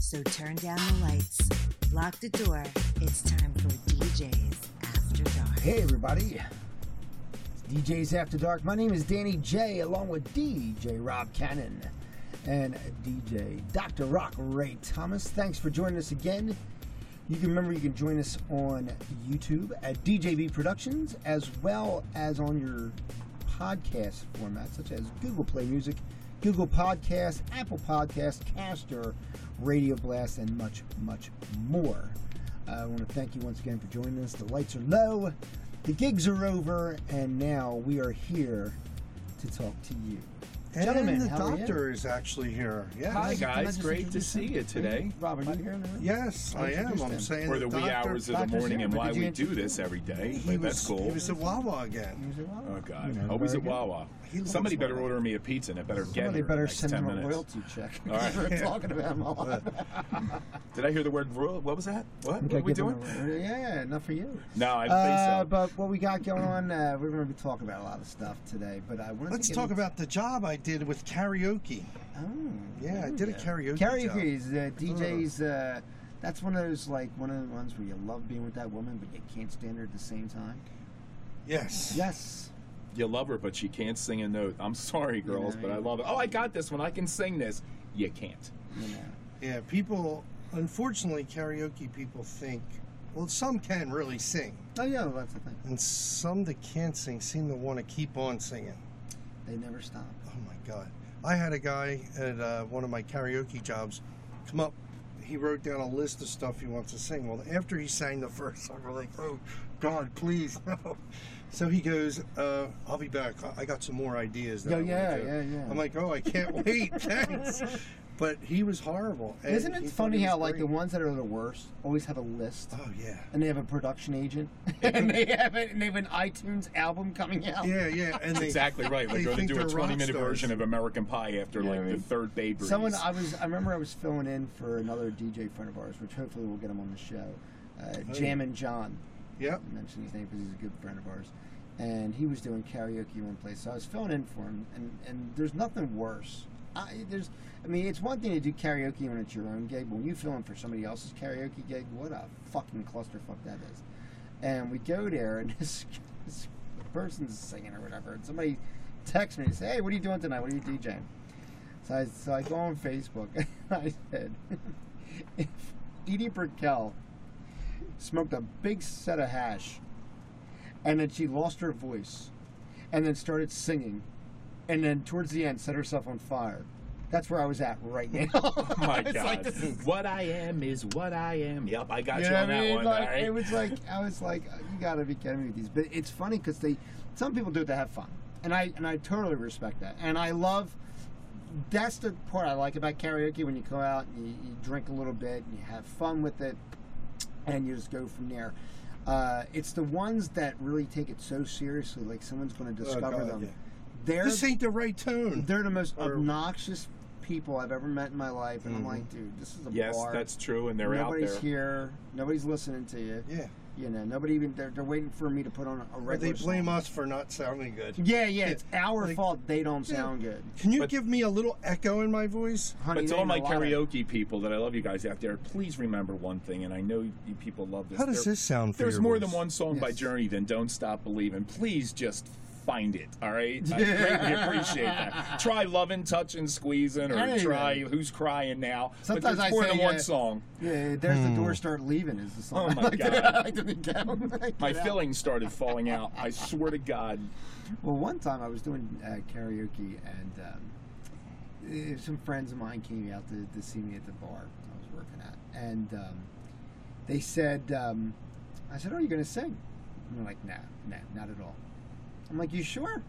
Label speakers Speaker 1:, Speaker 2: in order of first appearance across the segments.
Speaker 1: So turn down the lights, lock the door. It's time for DJ's After Dark.
Speaker 2: Hey, everybody. It's DJ's After Dark. My name is Danny J, along with DJ Rob Cannon and DJ Dr. Rock Ray Thomas. Thanks for joining us again. You can remember you can join us on YouTube at DJB Productions, as well as on your podcast formats such as Google Play Music, Google Podcasts, Apple Podcasts, Caster, Radio Blast, and much, much more. Uh, I want to thank you once again for joining us. The lights are low, the gigs are over, and now we are here to talk to you. Gentlemen,
Speaker 3: and the
Speaker 2: how are you?
Speaker 3: doctor is actually here. Yes.
Speaker 4: Hi
Speaker 2: Can I
Speaker 4: guys,
Speaker 2: just
Speaker 4: great to
Speaker 2: introduce
Speaker 4: see
Speaker 2: him?
Speaker 4: you today.
Speaker 2: Rob, are you here in the room?
Speaker 3: Yes, I am.
Speaker 2: Introduce
Speaker 3: I'm
Speaker 2: them.
Speaker 3: saying
Speaker 4: Or the wee
Speaker 3: doctor-
Speaker 4: hours of the
Speaker 2: Doctor's
Speaker 4: morning
Speaker 2: here,
Speaker 4: and
Speaker 2: but
Speaker 4: why
Speaker 2: did you
Speaker 4: we
Speaker 2: introduce
Speaker 4: do this every day.
Speaker 3: He
Speaker 4: But
Speaker 3: was,
Speaker 4: that's cool.
Speaker 3: He was at Wawa again.
Speaker 4: Oh God!
Speaker 2: You know,
Speaker 4: Hope he's
Speaker 2: very
Speaker 4: at
Speaker 2: good.
Speaker 4: Wawa.
Speaker 3: He loves
Speaker 4: Somebody better
Speaker 3: Wawa.
Speaker 4: order me a pizza, and it better get
Speaker 2: Somebody
Speaker 4: here in the
Speaker 2: better
Speaker 4: next
Speaker 2: send
Speaker 4: ten
Speaker 2: him a
Speaker 4: minutes.
Speaker 2: royalty check.
Speaker 4: All right.
Speaker 2: We're talking about him a lot.
Speaker 4: Did I hear the word royal? What was that? What? what are we doing?
Speaker 2: yeah, not for you.
Speaker 4: No, I don't
Speaker 2: Uh,
Speaker 4: think so.
Speaker 2: but what we got going on, uh, we're going to be talking about a lot of stuff today. But I wanted
Speaker 3: Let's
Speaker 2: to get
Speaker 3: talk
Speaker 2: into-
Speaker 3: about the job I did with karaoke.
Speaker 2: Oh,
Speaker 3: Yeah, I
Speaker 2: there
Speaker 3: did
Speaker 2: we
Speaker 3: a
Speaker 2: go.
Speaker 3: karaoke job.
Speaker 2: Karaoke is uh, DJ's. Uh, that's one of those like one of the ones where you love being with that woman, but you can't stand her at the same time.
Speaker 3: Yes.
Speaker 2: Yes.
Speaker 4: You love her, but she can't sing a note. I'm sorry, girls,
Speaker 2: know,
Speaker 4: but I
Speaker 2: you-
Speaker 4: love it. Oh, I got this one. I can sing this. You can't.
Speaker 2: You know.
Speaker 3: Yeah, people, unfortunately, karaoke people think, well, some can really sing,
Speaker 2: Oh yeah, well, that's the thing.
Speaker 3: and some that can't sing seem to want to keep on singing.
Speaker 2: They never stop.
Speaker 3: Oh my God. I had a guy at uh, one of my karaoke jobs come up. He wrote down a list of stuff he wants to sing. Well, after he sang the first song, we're like, oh, God, please, no. So he goes, uh, I'll be back. I- I got some more ideas. that
Speaker 2: Yeah,
Speaker 3: I wanna
Speaker 2: yeah,
Speaker 3: do."
Speaker 2: yeah, yeah.
Speaker 3: I'm like, oh, I can't wait. Thanks. But he was horrible. and
Speaker 2: Isn't
Speaker 3: he
Speaker 2: it
Speaker 3: thought
Speaker 2: funny
Speaker 3: he was
Speaker 2: how like the
Speaker 3: great.
Speaker 2: ones that are the worst always have a list?
Speaker 3: Oh, yeah.
Speaker 2: and they have a production agent, and they have it, and they have an iTunes album coming out.
Speaker 3: Yeah, yeah. And they,
Speaker 4: Exactly right. Like
Speaker 3: They
Speaker 4: you're going
Speaker 3: think
Speaker 4: to do a
Speaker 3: they're rock
Speaker 4: 20 minute
Speaker 3: stars.
Speaker 4: version of American Pie after
Speaker 2: Yeah,
Speaker 4: like the
Speaker 2: right.
Speaker 4: third Bay Breeze.
Speaker 2: Someone I was, I remember I was filling in for another DJ friend of ours, which hopefully we'll get him on the show. Uh, Jam and John,
Speaker 3: Yep.
Speaker 2: I mentioned his name because he's a good friend of ours, and he was doing karaoke one place, so I was filling in for him, and and there's nothing worse. I, there's, I mean, it's one thing to do karaoke when it's your own gig, but when you fill in for somebody else's karaoke gig, what a fucking clusterfuck that is. and we go there, and this, this person's singing or whatever, and somebody texts me and says, "Hey, what are you doing tonight? What are you DJing?" So I, so I go on Facebook, and I said, "If Edie Brickell smoked a big set of hash, and then she lost her voice, and then started singing, and then towards the end set herself on fire." That's where I was at right now.
Speaker 4: Oh my
Speaker 2: It's
Speaker 4: God.
Speaker 2: like, this is
Speaker 4: What I am is what I am. Yep, I got you,
Speaker 2: know
Speaker 4: on
Speaker 2: what I
Speaker 4: that
Speaker 2: mean?
Speaker 4: one.
Speaker 2: Like,
Speaker 4: all right?
Speaker 2: It was like I was like, "Oh, you gotta be kidding me with these. But it's funny because they, some people do it to have fun, and I and I totally respect that, and I love. That's the part I like about karaoke when you go out and you, you drink a little bit and you have fun with it, and you just go from there. Uh, it's the ones that really take it so seriously, like someone's going to discover
Speaker 3: Oh, God,
Speaker 2: them.
Speaker 3: yeah.
Speaker 2: They're
Speaker 3: This ain't the right tune.
Speaker 2: they're the most
Speaker 3: Or- Mm-hmm.
Speaker 2: obnoxious people I've ever met in my life, and I'm like, dude, this is a
Speaker 4: yes,
Speaker 2: bar.
Speaker 4: that's true, and they're
Speaker 2: Nobody's
Speaker 4: out there.
Speaker 2: here. Nobody's listening to you.
Speaker 3: Yeah.
Speaker 2: You know, nobody even they're, they're waiting for me to put on a
Speaker 3: Or
Speaker 2: regular.
Speaker 3: they blame
Speaker 2: song.
Speaker 3: us for not sounding good.
Speaker 2: Yeah, yeah, it's our
Speaker 3: Like-
Speaker 2: fault they don't sound good.
Speaker 3: Can you
Speaker 4: But-
Speaker 3: give me a little echo in my voice?
Speaker 2: Honey,
Speaker 4: But to
Speaker 2: they
Speaker 4: all
Speaker 2: ain't
Speaker 4: my
Speaker 2: a lot of-
Speaker 4: karaoke people that I love you guys out there, please remember one thing, and I know you people love this.
Speaker 3: How does
Speaker 4: There-
Speaker 3: this sound for
Speaker 4: There's
Speaker 3: your
Speaker 4: more
Speaker 3: voice?
Speaker 4: than one song by
Speaker 2: Yes.
Speaker 4: Journey than Don't Stop Believing. Please just find it, all right? I greatly appreciate that. Try Lovin', Touchin', Squeezin', or
Speaker 2: Anyway.
Speaker 4: try Who's Crying Now.
Speaker 2: Sometimes
Speaker 4: but there's
Speaker 2: I
Speaker 4: more
Speaker 2: say,
Speaker 4: than
Speaker 2: uh,
Speaker 4: one song.
Speaker 2: Yeah, there's the door start leaving is the song.
Speaker 4: Oh, my
Speaker 2: I like to-
Speaker 4: God.
Speaker 2: I like to think of. Like,
Speaker 4: My
Speaker 2: get out.
Speaker 4: fillings started falling out. I swear to God.
Speaker 2: Well, one time I was doing uh, karaoke and um, eh, some friends of mine came out to, to see me at the bar I was working at, and um, they said, um, "I said, oh, you're gonna sing?" And they're like, "Nah, nah, not at all." I'm like, "You sure?"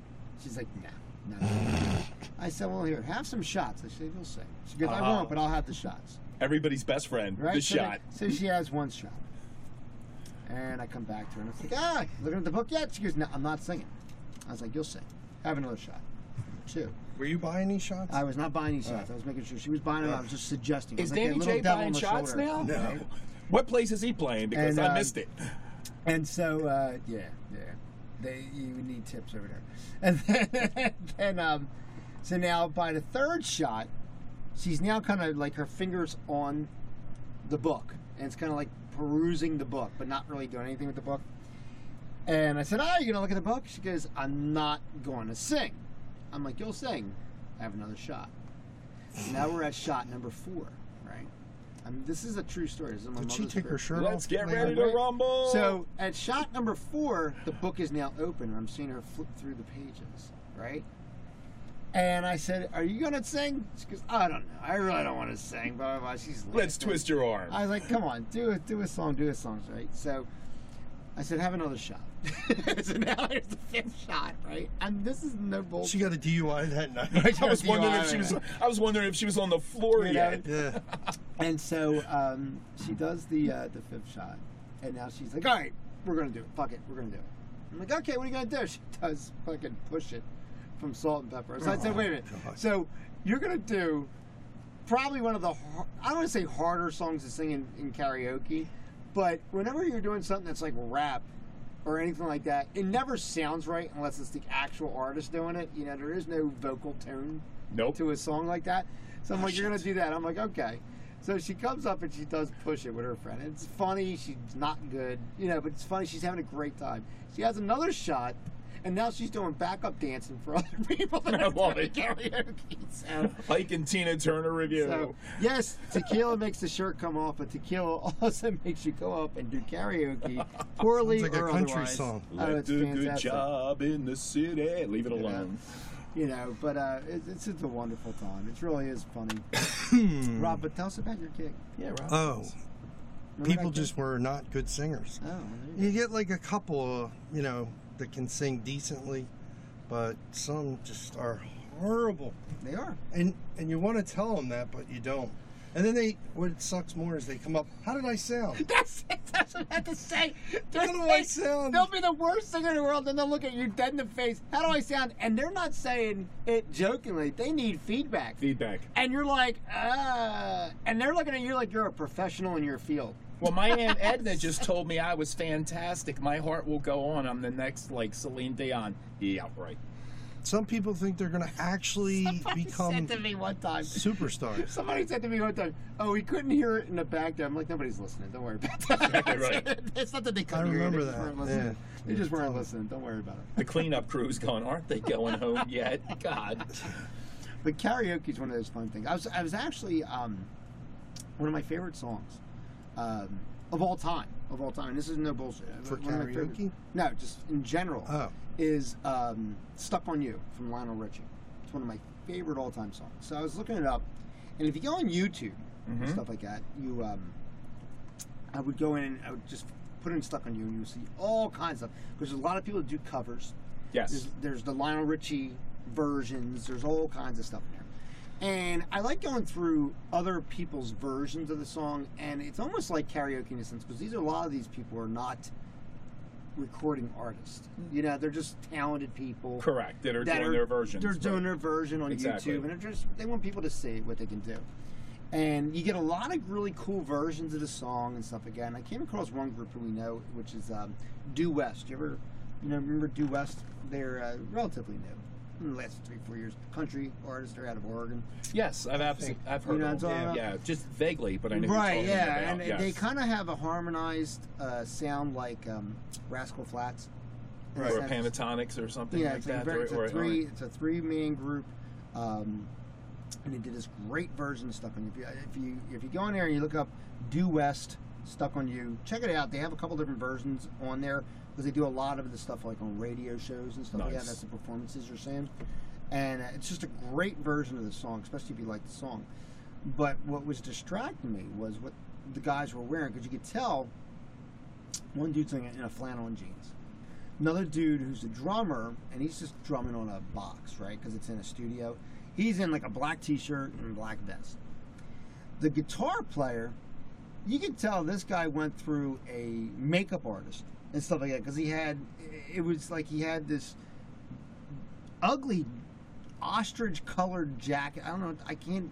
Speaker 2: She's like, "Nah, not at all." I said, "Well, here, have some shots." I said, "You'll sing." She goes, "I
Speaker 4: Uh-huh.
Speaker 2: won't, but I'll have the shots."
Speaker 4: Everybody's best friend,
Speaker 2: Right?
Speaker 4: the
Speaker 2: so
Speaker 4: shot.
Speaker 2: they- so she has one shot. And I come back to her and I was like, ah, looking at the book yet? She goes, no, I'm not singing. I was like, you'll sing. Have another shot. Two.
Speaker 3: Were you buying any shots?
Speaker 2: I was not buying any shots. I was making sure she was buying them. I was just suggesting. I
Speaker 4: Uh. Is
Speaker 2: was like that
Speaker 4: Danny
Speaker 2: little
Speaker 4: J
Speaker 2: devil
Speaker 4: buying
Speaker 2: on the
Speaker 4: shots
Speaker 2: shoulder.
Speaker 4: now? What place is he playing? Because
Speaker 2: And,
Speaker 4: I
Speaker 2: um,
Speaker 4: missed it.
Speaker 2: And so, uh, yeah, yeah, they you would need tips over there. And then, then um, so now by the third shot, she's now kind of like her fingers on the book, and it's kind of like perusing the book, but not really doing anything with the book. And I said, "Ah, you gonna look at the book?" She goes, "I'm not going to sing." I'm like, "You'll sing. I have another shot." now we're at shot number four, right? I mean, this is a true story. This is my
Speaker 3: Did she
Speaker 2: mother's
Speaker 3: take her
Speaker 2: birthday.
Speaker 3: shirt
Speaker 4: Let's
Speaker 3: off?
Speaker 4: get
Speaker 3: later?
Speaker 4: ready to rumble.
Speaker 2: So at shot number four, the book is now open, and I'm seeing her flip through the pages, right? And I said, "Are you gonna sing?" She goes, "I don't know. I really don't want to sing." Blah blah. blah. She's
Speaker 4: let's
Speaker 2: laughing.
Speaker 4: twist your arm.
Speaker 2: I was like, "Come on, do it, do a song, do a song, right?" So I said, "Have another shot." so now here's the fifth shot, right? And this is no bullshit.
Speaker 3: She got a DUI that night.
Speaker 4: I was wondering if
Speaker 2: DUI.
Speaker 4: she was. I was wondering if she was on the floor
Speaker 2: You know,
Speaker 4: yet.
Speaker 3: yeah.
Speaker 2: And so um, she does the uh, the fifth shot, and now she's like, "All right, we're gonna do it. Fuck it, we're gonna do it." I'm like, "Okay, what are you gonna do?" She does fucking push it from Salt and Pepper. So I said,
Speaker 3: Oh,
Speaker 2: "Wait a minute.
Speaker 3: God.
Speaker 2: So you're gonna do probably one of the har- I don't want to say harder songs to sing in, in karaoke, but whenever you're doing something that's like rap." Or anything like that. It never sounds right unless it's the actual artist doing it. You know, there is no vocal tone
Speaker 4: Nope.
Speaker 2: to a song like that. So I'm
Speaker 3: Oh,
Speaker 2: like, you're gonna
Speaker 3: shit.
Speaker 2: do that. I'm like, okay. So she comes up and she does push it with her friend. It's funny. She's not good, you know, but it's funny. She's having a great time. She has another shot, and now she's doing backup dancing for other people that
Speaker 4: I
Speaker 2: are
Speaker 4: love
Speaker 2: doing
Speaker 4: it.
Speaker 2: karaoke. So,
Speaker 4: Pike and Tina Turner review.
Speaker 2: so, yes, tequila makes the shirt come off, but tequila also makes you go up and do karaoke poorly
Speaker 3: Sounds like a
Speaker 2: or
Speaker 3: country
Speaker 2: otherwise.
Speaker 3: song.
Speaker 2: Oh,
Speaker 4: Let
Speaker 2: it's
Speaker 4: do a good
Speaker 2: fantastic.
Speaker 4: job in the city. Leave it alone.
Speaker 2: you know. But uh, it, it's just a wonderful time. It really is funny. Rob, but tell us about your gig.
Speaker 4: Yeah, right.
Speaker 3: Oh,
Speaker 2: Remember
Speaker 3: people
Speaker 2: that gig?
Speaker 3: just were not good singers.
Speaker 2: Oh,
Speaker 3: You get like a couple, uh, you know, that can sing decently, but some just are horrible.
Speaker 2: they are.
Speaker 3: And and you want to tell them that, but you don't. And then they, what sucks more is they come up. How did I sound?
Speaker 2: That's it. That's what I had to say.
Speaker 3: How do I sound?
Speaker 2: They'll be the worst singer in the world, then they'll look at you dead in the face. How do I sound? And they're not saying it jokingly. They need feedback.
Speaker 4: Feedback.
Speaker 2: And you're like, uh, and they're looking at you like you're a professional in your field.
Speaker 4: Well, my aunt Edna just told me I was fantastic. My heart will go on. I'm the next like Celine Dion. Yeah, right.
Speaker 3: Some people think they're gonna actually
Speaker 2: Somebody
Speaker 3: become
Speaker 2: said to me one time.
Speaker 3: superstars.
Speaker 2: Somebody said to me one time, "Oh, we couldn't hear it in the back there." I'm like, "Nobody's listening. Don't worry about that."
Speaker 4: Exactly right.
Speaker 2: it's not that they couldn't
Speaker 3: I
Speaker 2: hear it.
Speaker 3: remember
Speaker 2: They just
Speaker 3: that.
Speaker 2: weren't listening.
Speaker 3: Yeah.
Speaker 2: They just weren't listening. Don't worry about it.
Speaker 4: The cleanup crew's gone. Aren't they going home yet? God.
Speaker 2: But karaoke is one of those fun things. I was I was actually um, one of my favorite songs um, of all time, of all time. And this is no bullshit.
Speaker 3: For
Speaker 2: One of my favorite-
Speaker 3: karaoke?
Speaker 2: No, just in general.
Speaker 3: Oh.
Speaker 2: Is um, "Stuck on You" from Lionel Richie. It's one of my favorite all time songs. So I was looking it up, and if you go on YouTube and
Speaker 4: Mhm.
Speaker 2: stuff like that, you um, I would go in and I would just put in "Stuck on You" and you would see all kinds of because there's a lot of people that do covers.
Speaker 4: Yes.
Speaker 2: There's, there's the Lionel Richie versions. There's all kinds of stuff in there. And I like going through other people's versions of the song, and it's almost like karaoke in a sense because these are a lot of these people are not recording artists. You know, they're just talented people
Speaker 4: Mm. Correct. That are doing their versions.
Speaker 2: They're doing
Speaker 4: right.
Speaker 2: their version on
Speaker 4: Exactly.
Speaker 2: YouTube, and they're just they want people to see what they can do. And you get a lot of really cool versions of the song and stuff again. I came across one group who we know, which is um, Due West. You ever, you know, remember Due West? They're uh, relatively new, in the last three four years. Country artists, they're out of Oregon.
Speaker 4: Yes, I've abs-
Speaker 3: think-
Speaker 4: I've heard
Speaker 2: You know
Speaker 4: of
Speaker 2: what I'm
Speaker 4: them.
Speaker 2: talking
Speaker 4: Yeah, just vaguely, but I know.
Speaker 2: Right,
Speaker 4: You're talking
Speaker 2: yeah,
Speaker 4: about.
Speaker 2: and they
Speaker 4: Yes.
Speaker 2: kind of have a harmonized uh, sound like um, Rascal Flats. in a
Speaker 3: Right.
Speaker 4: or
Speaker 2: sense.
Speaker 4: Panatonix or something
Speaker 2: Yeah,
Speaker 4: like
Speaker 2: it's, like
Speaker 4: that.
Speaker 2: a, very,
Speaker 4: or-
Speaker 2: it's,
Speaker 4: or-
Speaker 2: a
Speaker 4: or-
Speaker 2: three, it's a three man group, um, and they did this great version of Stuck on You. If you if you go in there and you look up Due West Stuck on You, check it out. They have a couple different versions on there because they do a lot of the stuff like on radio shows and stuff like that.
Speaker 4: Nice.
Speaker 2: That's the performances you're saying, and uh, it's just a great version of the song, especially if you like the song. But what was distracting me was what the guys were wearing because you could tell one dude's in a, in a flannel and jeans. Another dude who's a drummer, and he's just drumming on a box, right? Because it's in a studio. He's in like a black t-shirt and black vest. The guitar player, you can tell this guy went through a makeup artist and stuff like that because he had, it was like he had this ugly ostrich-colored jacket. I don't know. I can't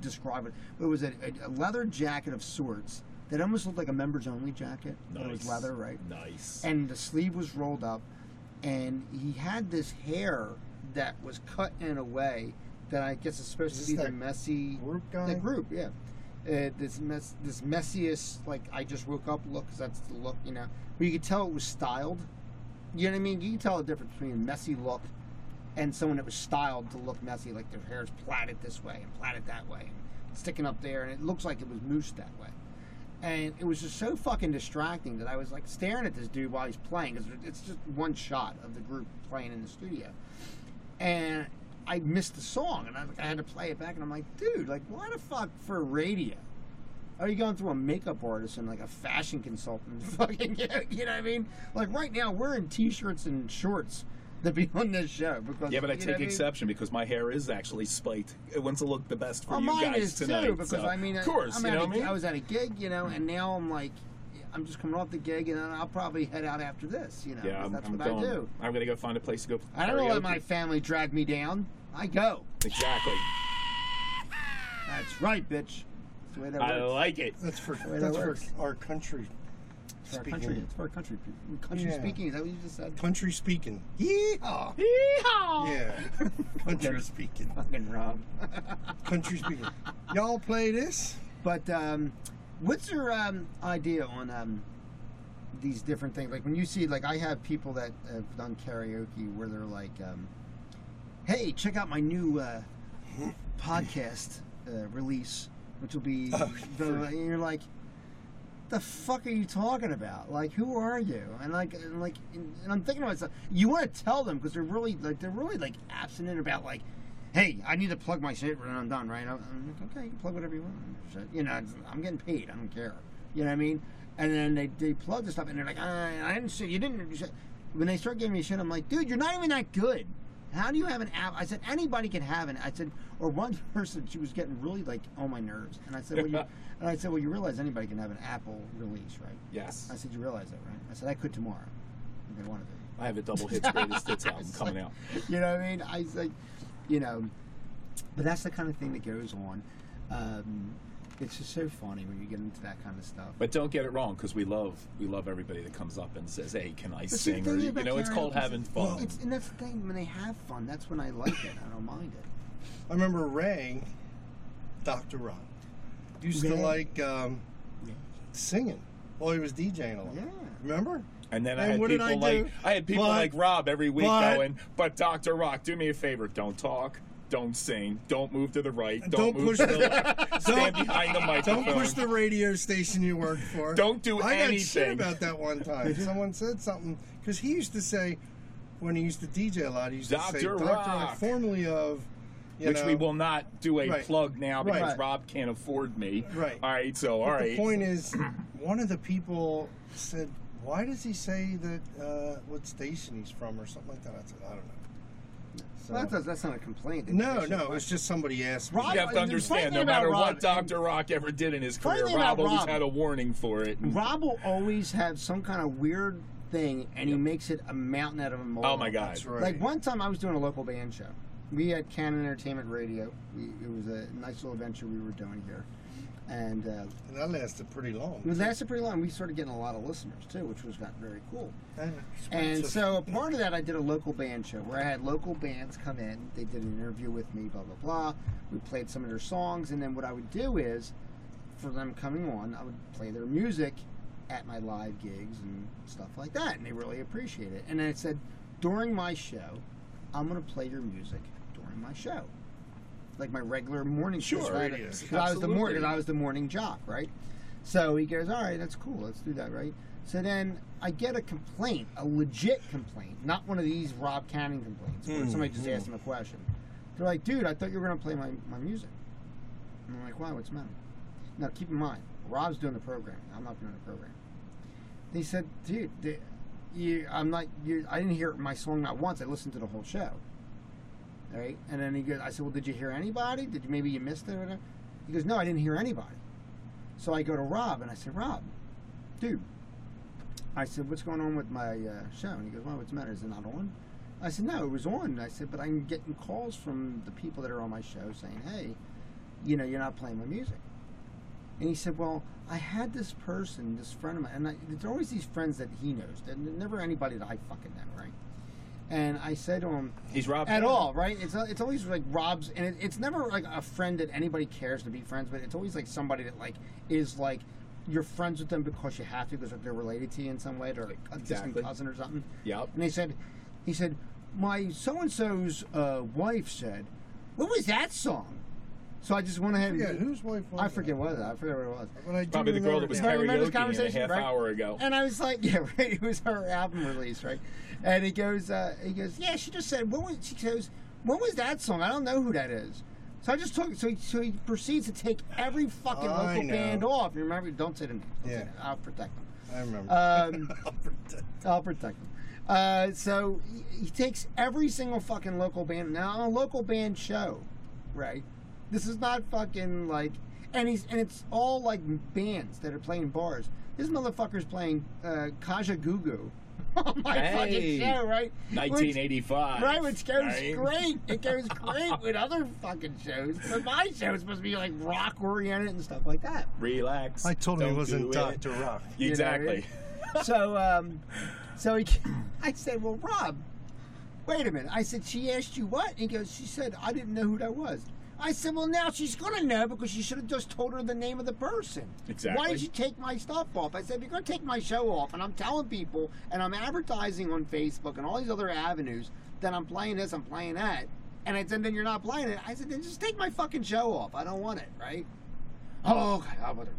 Speaker 2: describe it. But it was a, a, a leather jacket of sorts that almost looked like a members-only jacket. but It was
Speaker 4: Nice.
Speaker 2: leather, right?
Speaker 4: Nice.
Speaker 2: and the sleeve was rolled up and he had this hair that was cut in a way that I guess is supposed
Speaker 3: Is
Speaker 2: to be
Speaker 3: this
Speaker 2: the
Speaker 3: that
Speaker 2: messy
Speaker 3: group guy?
Speaker 2: the group yeah uh, this mess, this messiest like I just woke up look 'cause that's the look you know. But you could tell it was styled. You know what I mean? You can tell the difference between a messy look and someone that was styled to look messy, like their hair's plaited this way and plaited that way and sticking up there, and it looks like it was moosed that way. And it was just so fucking distracting that I was like staring at this dude while he's playing because it's just one shot of the group playing in the studio and I missed the song, and I, I had to play it back, and I'm like, dude, like, why the fuck for radio? Are you going through a makeup artist and like a fashion consultant? Fucking, you know, you know what I mean? Like right now, we're in t-shirts and shorts to be on this show because
Speaker 4: Yeah, but I
Speaker 2: you know
Speaker 4: take
Speaker 2: what mean?
Speaker 4: exception because my hair is actually spiked. It wants to look the best for
Speaker 2: Well,
Speaker 4: you
Speaker 2: mine
Speaker 4: guys
Speaker 2: is
Speaker 4: tonight.
Speaker 2: too because
Speaker 4: so-
Speaker 2: I mean, I-
Speaker 4: of course,
Speaker 2: I'm
Speaker 4: you
Speaker 2: at
Speaker 4: know
Speaker 2: a-
Speaker 4: what I mean.
Speaker 2: I was at a gig, you know, and now I'm like, I'm just coming off the gig, and then I'll probably head out after this, you know.
Speaker 4: yeah,
Speaker 2: 'cause
Speaker 4: I'm,
Speaker 2: that's
Speaker 4: I'm
Speaker 2: what
Speaker 4: going.
Speaker 2: I do.
Speaker 4: I'm gonna go find a place to go.
Speaker 2: I don't let
Speaker 4: karaoke.
Speaker 2: my family drag me down. I go.
Speaker 4: exactly.
Speaker 2: That's right, bitch. That's the way that
Speaker 4: I
Speaker 2: works.
Speaker 4: like it.
Speaker 3: That's for
Speaker 2: way that
Speaker 3: that's for
Speaker 2: works.
Speaker 3: our country
Speaker 2: For our
Speaker 3: Speaking.
Speaker 2: country, it's for our country people. Country
Speaker 3: Yeah.
Speaker 2: speaking, is that what you just said?
Speaker 3: country speaking.
Speaker 2: Yeehaw!
Speaker 4: Yeehaw!
Speaker 3: Yeah, country
Speaker 2: Okay.
Speaker 3: speaking.
Speaker 2: Fucking Rob.
Speaker 3: Country speaking. Y'all play this?
Speaker 2: But um, what's your um, idea on um, these different things? Like when you see, like I have people that have done karaoke where they're like, um, "Hey, check out my new uh, podcast uh, release, which will be," and you're like. The fuck are you talking about? Like, who are you? And like, and like, and and I'm thinking to myself, you want to tell them because they're really like, they're really like abstinent about like, hey, I need to plug my shit when I'm done, right? I'm, I'm like, okay, you can plug whatever you want. Shit. You know, it's- I'm getting paid. I don't care. You know what I mean? And then they, they plug the stuff, and they're like, I, I didn't see, you didn't. you said-" When they start giving me shit, I'm like, dude, you're not even that good. How do you have an app? I said, anybody can have an. I said, or one person, she was getting really like on my nerves, and I said, well, you, and I said, well, you realize anybody can have an Apple release, right?
Speaker 4: Yes,
Speaker 2: I said, you realize that, right? I said, I could tomorrow if I wanted to.
Speaker 4: I have a double hits greatest hits album
Speaker 2: It's
Speaker 4: coming
Speaker 2: like-
Speaker 4: out.
Speaker 2: You know what I mean? I was like, you know, but that's the kind of thing that goes on. Um, it's just so funny when you get into that kind of stuff.
Speaker 4: But don't get it wrong, because we love we love everybody that comes up and says, "Hey, can I
Speaker 2: But see, the
Speaker 4: sing?"
Speaker 2: thing
Speaker 4: Or you
Speaker 2: about
Speaker 4: know, it's called
Speaker 2: karaoke is
Speaker 4: having
Speaker 2: it's-
Speaker 4: fun.
Speaker 2: It's, and that's the thing. When they have fun, that's when I like it. I don't mind it.
Speaker 3: I remember Ray, Doctor Rock, used to
Speaker 2: Ray.
Speaker 3: like um,
Speaker 2: Yeah.
Speaker 3: singing while he was DJing a lot.
Speaker 2: Yeah.
Speaker 3: Remember?
Speaker 4: and then I
Speaker 3: And
Speaker 4: had
Speaker 3: what did
Speaker 4: people
Speaker 3: I
Speaker 4: like
Speaker 3: do?
Speaker 4: I had people
Speaker 3: But-
Speaker 4: like Rob every week
Speaker 3: but-
Speaker 4: going, "But Doctor Rock, do me a favor, don't talk." Don't sing. Don't move to the right. Don't,
Speaker 3: Don't
Speaker 4: move
Speaker 3: push
Speaker 4: to
Speaker 3: the-
Speaker 4: the left. Stand
Speaker 3: don't-
Speaker 4: behind the microphone.
Speaker 3: Don't push the radio station you work for.
Speaker 4: Don't do
Speaker 3: I got shit
Speaker 4: anything.
Speaker 3: about that one time. Someone said something because he used to say when he used to DJ a lot, he used to say
Speaker 4: Dr. Rock."
Speaker 3: formerly of, you
Speaker 4: which
Speaker 3: know,
Speaker 4: we will not do a
Speaker 3: Right.
Speaker 4: plug now because
Speaker 3: Right.
Speaker 4: Rob can't afford me.
Speaker 3: Right.
Speaker 4: All right. So all
Speaker 3: But
Speaker 4: right.
Speaker 3: The point is, one of the people said, "Why does he say that? Uh, what station he's from, or something like that?" I said, "I don't know."
Speaker 2: So that's, not- that's not a complaint.
Speaker 3: No,
Speaker 2: It's just-
Speaker 3: no, it was just somebody asked.
Speaker 2: Rob-
Speaker 3: Me.
Speaker 4: you have to
Speaker 2: the funny
Speaker 4: understand,
Speaker 2: thing
Speaker 4: no matter
Speaker 2: about
Speaker 4: what
Speaker 2: Rob-
Speaker 4: Dr. Rock ever did in his
Speaker 2: Funny
Speaker 4: career,
Speaker 2: thing
Speaker 4: Rob
Speaker 2: about
Speaker 4: always
Speaker 2: Rob-
Speaker 4: had a warning for it. And-
Speaker 2: Rob will always have some kind of weird thing, and he makes it a mountain out of a molehill.
Speaker 4: oh my God.
Speaker 3: That's right.
Speaker 2: Like one time, I was doing a local band show. We had Canon Entertainment Radio. We, it was a nice little venture we were doing here, and uh,
Speaker 3: And that lasted pretty long.
Speaker 2: it lasted pretty long. We started getting a lot of listeners too, which was got very cool.
Speaker 3: And,
Speaker 2: And so, a part of that, I did a local band show where I had local bands come in. They did an interview with me, blah blah blah. We played some of their songs, and then what I would do is, for them coming on, I would play their music at my live gigs and stuff like that, and they really appreciate it. And I said, during my show, I'm going to play your music during my show, like my regular morning show.
Speaker 4: Sure,
Speaker 2: right?
Speaker 4: it is.
Speaker 2: 'Cause I was the morning,
Speaker 4: Absolutely.
Speaker 2: I was the morning jock, right? So he goes, all right, that's cool. Let's do that, right? So then I get a complaint, a legit complaint, not one of these Rob Cannon complaints where somebody just asked him a question. They're like, dude, I thought you were going to play my, my music. And I'm like, why? What's the matter? Now, keep in mind, Rob's doing the programming. I'm not doing the programming. They said, dude, the, you, I'm not, you, I didn't hear my song not once. I listened to the whole show. All right? And then he goes, I said, well, did you hear anybody? Did you, maybe you missed it or whatever? He goes, no, I didn't hear anybody. So I go to Rob and I said, Rob, dude, I said, what's going on with my uh, show? And he goes, well, what's the matter? Is it not on? I said, no, it was on. I said, but I'm getting calls from the people that are on my show saying, hey, you know, you're not playing my music. And he said, well, I had this person, this friend of mine, and I, there's always these friends that he knows, and never anybody that I fucking know, right? And I said to him,
Speaker 4: He's Rob.
Speaker 2: at all, right? It's uh, it's always like Rob's, and it, it's never like a friend that anybody cares to be friends with. It's always like somebody that like is like you're friends with them because you have to because they're related to you in some way or a
Speaker 4: Exactly.
Speaker 2: distant cousin or something.
Speaker 4: Yep.
Speaker 2: And they said, he said, my so and so's uh, wife said, what was that song? So I just went ahead.
Speaker 3: Yeah,
Speaker 2: and
Speaker 3: whose wife was
Speaker 2: I forget
Speaker 3: that?
Speaker 2: what it, I forget what it was.
Speaker 3: But I do
Speaker 4: Probably the girl
Speaker 3: remember
Speaker 4: that was
Speaker 3: now.
Speaker 2: I remember this
Speaker 4: karaoke a
Speaker 2: conversation,
Speaker 4: half
Speaker 2: right?
Speaker 4: hour ago.
Speaker 2: And I was like, yeah, right. It was her album release, right? And he goes, uh, he goes, yeah. She just said, what was? She goes, when was that song? I don't know who that is. So I just took. So he, so he proceeds to take every fucking
Speaker 3: I
Speaker 2: local
Speaker 3: know.
Speaker 2: band off. You remember? Don't say the name. Don't say
Speaker 3: Yeah.
Speaker 2: the name. I'll protect them.
Speaker 3: I remember.
Speaker 2: Um,
Speaker 3: Albert.
Speaker 2: I'll protect them. Uh, so he, he takes every single fucking local band now on a local band show, right? This is not fucking like, and he's and it's all like bands that are playing bars. This motherfucker's playing uh, Kaja Gugu on my
Speaker 4: Hey.
Speaker 2: fucking show, right? Which-
Speaker 4: 1985.
Speaker 2: Right, which goes
Speaker 4: right?
Speaker 2: great. It goes great with other fucking shows. But my show is supposed to be like rock oriented and stuff like that.
Speaker 4: Relax.
Speaker 3: I told him he
Speaker 4: Don't
Speaker 3: wasn't
Speaker 4: do it.
Speaker 3: Dr. Rock.
Speaker 4: Exactly.
Speaker 2: so um, so he, I said, well, Rob, wait a minute. I said, she asked you what? And he goes, she said, I didn't know who that was. I said, well, now she's gonna know because you should have just told her the name of the person. Why
Speaker 4: Exactly.
Speaker 2: did you take my stuff off? I said, if you're gonna take my show off, and I'm telling people, and I'm advertising on Facebook and all these other avenues that I'm playing this, I'm playing that, and I said, then you're not playing it. I said, then just take my fucking show off. I don't want it, right? Oh, okay. I would've-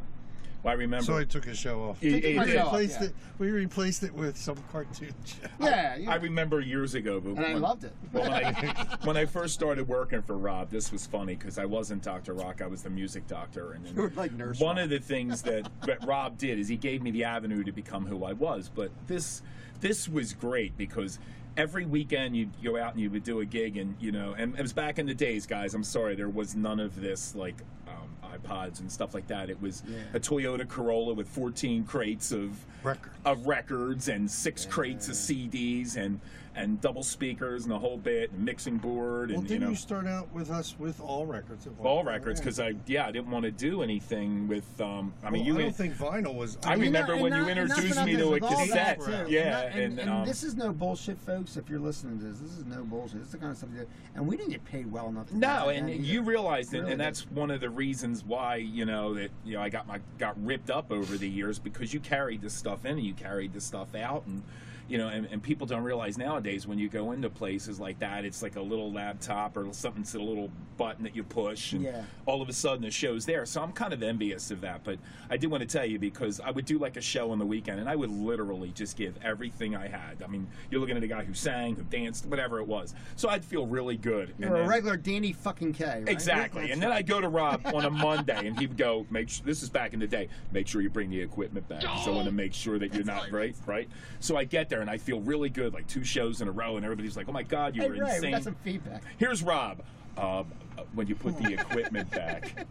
Speaker 4: Well, I remember.
Speaker 3: So I took his show off.
Speaker 4: It- it-
Speaker 2: my
Speaker 4: it-
Speaker 3: We
Speaker 2: show off.
Speaker 3: replaced
Speaker 2: yeah.
Speaker 3: it. We replaced it with some cartoon show.
Speaker 2: Yeah, yeah.
Speaker 4: I remember years ago, but
Speaker 2: and I loved it.
Speaker 4: Well, when I, when I first started working for Rob, this was funny because I wasn't Dr. Rock, I was the music doctor. And then
Speaker 2: You were like Nurse
Speaker 4: One of the things that, that Rob did is he gave me the avenue to become who I was. But this this was great because every weekend you'd go out and you would do a gig, and you know, and it was back in the days, guys. I'm sorry, there was none of this like. Um, iPods and stuff like that. It was a Toyota Corolla with 14 crates of
Speaker 3: Records.
Speaker 4: of records and six crates of CDs and and double speakers and the whole bit and mixing board
Speaker 3: Well,
Speaker 4: and you
Speaker 3: didn't
Speaker 4: know
Speaker 3: you Oh, start out with us with all records? at one
Speaker 4: all
Speaker 3: point,
Speaker 4: records
Speaker 3: right?
Speaker 4: because I yeah I didn't want to do anything with um I mean
Speaker 3: Well, I
Speaker 4: you
Speaker 3: don't think vinyl was.
Speaker 4: I
Speaker 3: mean,
Speaker 4: remember
Speaker 2: And
Speaker 4: when
Speaker 2: not-
Speaker 4: you
Speaker 2: and not
Speaker 4: introduced
Speaker 2: for
Speaker 4: me to
Speaker 2: nothing,
Speaker 4: a
Speaker 2: with all that,
Speaker 4: cassette
Speaker 2: too. And
Speaker 4: yeah
Speaker 2: not- and,
Speaker 4: and,
Speaker 2: and
Speaker 4: um,
Speaker 2: this is no bullshit, folks. If you're listening to this, this is no bullshit. This is the kind of stuff. That, and we didn't get paid well enough. to do
Speaker 4: No,
Speaker 2: that
Speaker 4: and
Speaker 2: either.
Speaker 4: you realize that,
Speaker 2: Really
Speaker 4: and that's one of the reasons why you know that you know I got my got ripped up over the years because you carried this stuff in and you carried this stuff out, and you know, and, and people don't realize nowadays when you go into places like that, it's like a little laptop or something's a little button that you push, and
Speaker 2: Yeah.
Speaker 4: all of a sudden the show's there. So I'm kind of envious of that, but I do want to tell you because I would do like a show on the weekend, and I would literally just give everything I had. I mean, you're looking at a guy who sang, who danced, whatever it was. So I'd feel really good. and
Speaker 2: you're a
Speaker 4: then-
Speaker 2: regular Danny fucking K. Right?
Speaker 4: Exactly. And then I'd go to Rob on a Monday and he'd go, make sure, this is back in the day, make sure you bring the equipment back. 'cause I want to make sure that you're not right, right? So I get there and I feel really good, like two shows in a row, and everybody's like, oh my God, you
Speaker 2: Hey,
Speaker 4: were
Speaker 2: Ray, we
Speaker 4: insane.
Speaker 2: got some feedback.
Speaker 4: Here's Rob. Um, when you put the equipment back,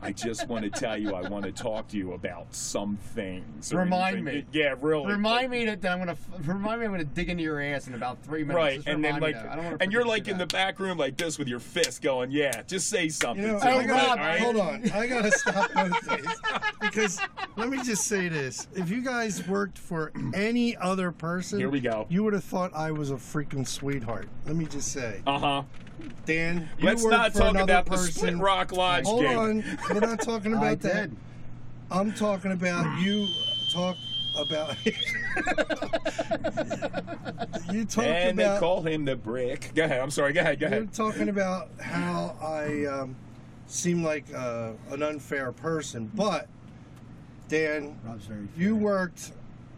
Speaker 4: I just want to tell you, I want to talk to you about some things. or
Speaker 2: Remind me.
Speaker 4: anything. Yeah, really.
Speaker 2: Remind me that that I'm gonna f- remind me I'm gonna dig into your ass in about three minutes.
Speaker 4: Right,
Speaker 2: Just
Speaker 4: and then
Speaker 2: remind me
Speaker 4: like,
Speaker 2: that. I don't wanna
Speaker 4: and you're
Speaker 2: forget to
Speaker 4: like
Speaker 2: do
Speaker 4: in the
Speaker 2: that.
Speaker 4: back room like this with your fist going, yeah, just say something.
Speaker 3: You know,
Speaker 4: to
Speaker 3: I
Speaker 4: me,
Speaker 3: gotta,
Speaker 2: Rob,
Speaker 4: all right?
Speaker 3: hold on. I gotta stop both days because let me just say this: if you guys worked for any other person,
Speaker 4: Here we go.
Speaker 3: You would have thought I was a freaking sweetheart. Let me just say,
Speaker 4: Uh huh.
Speaker 3: Dan. You
Speaker 4: Let's
Speaker 3: worked
Speaker 4: not
Speaker 3: for
Speaker 4: talk
Speaker 3: another
Speaker 4: about
Speaker 3: person.
Speaker 4: the Split Rock Lodge
Speaker 3: Hold
Speaker 4: gig.
Speaker 3: on, we're not talking
Speaker 2: I
Speaker 3: about that.
Speaker 2: did.
Speaker 3: I'm talking about you talk about you talk
Speaker 4: And they
Speaker 3: about
Speaker 4: call him the Brick. Go ahead. I'm sorry. Go ahead. Go
Speaker 3: You're
Speaker 4: ahead.
Speaker 3: talking about how I um, seem like uh, an unfair person, but Dan,
Speaker 2: Rob's very.
Speaker 3: you
Speaker 2: fair.
Speaker 3: worked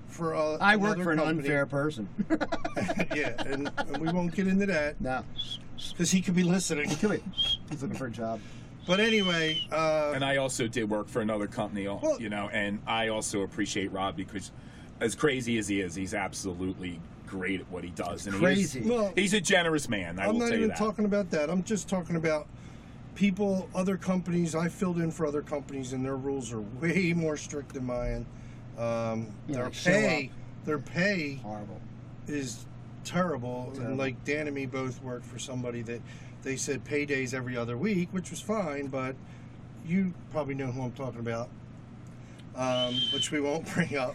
Speaker 3: for a,
Speaker 2: I worked for an
Speaker 3: another
Speaker 2: unfair person.
Speaker 3: company. yeah, and, and we won't get into that
Speaker 2: no,
Speaker 3: because he could be listening.
Speaker 2: come here. He's looking for a job.
Speaker 3: But anyway, uh,
Speaker 4: And I also did work for another company,
Speaker 3: Well-
Speaker 4: you know, and I also appreciate Rob because, as crazy as he is, he's absolutely great at what he does. And
Speaker 2: Crazy.
Speaker 4: He is,
Speaker 3: well,
Speaker 4: he's a generous man. I
Speaker 3: I'm
Speaker 4: will
Speaker 3: not
Speaker 4: tell you
Speaker 3: even
Speaker 4: that.
Speaker 3: talking about that. I'm just talking about people, other companies. I filled in for other companies, and their rules are way more strict than mine. Um,
Speaker 2: Yeah,
Speaker 3: their
Speaker 2: like show
Speaker 3: pay,
Speaker 2: up.
Speaker 3: their pay
Speaker 2: Horrible.
Speaker 3: is terrible.
Speaker 2: Terrible.
Speaker 3: And like Dan and me both worked for somebody that they said paydays every other week, which was fine, but you probably know who I'm talking about, um, which we won't bring up.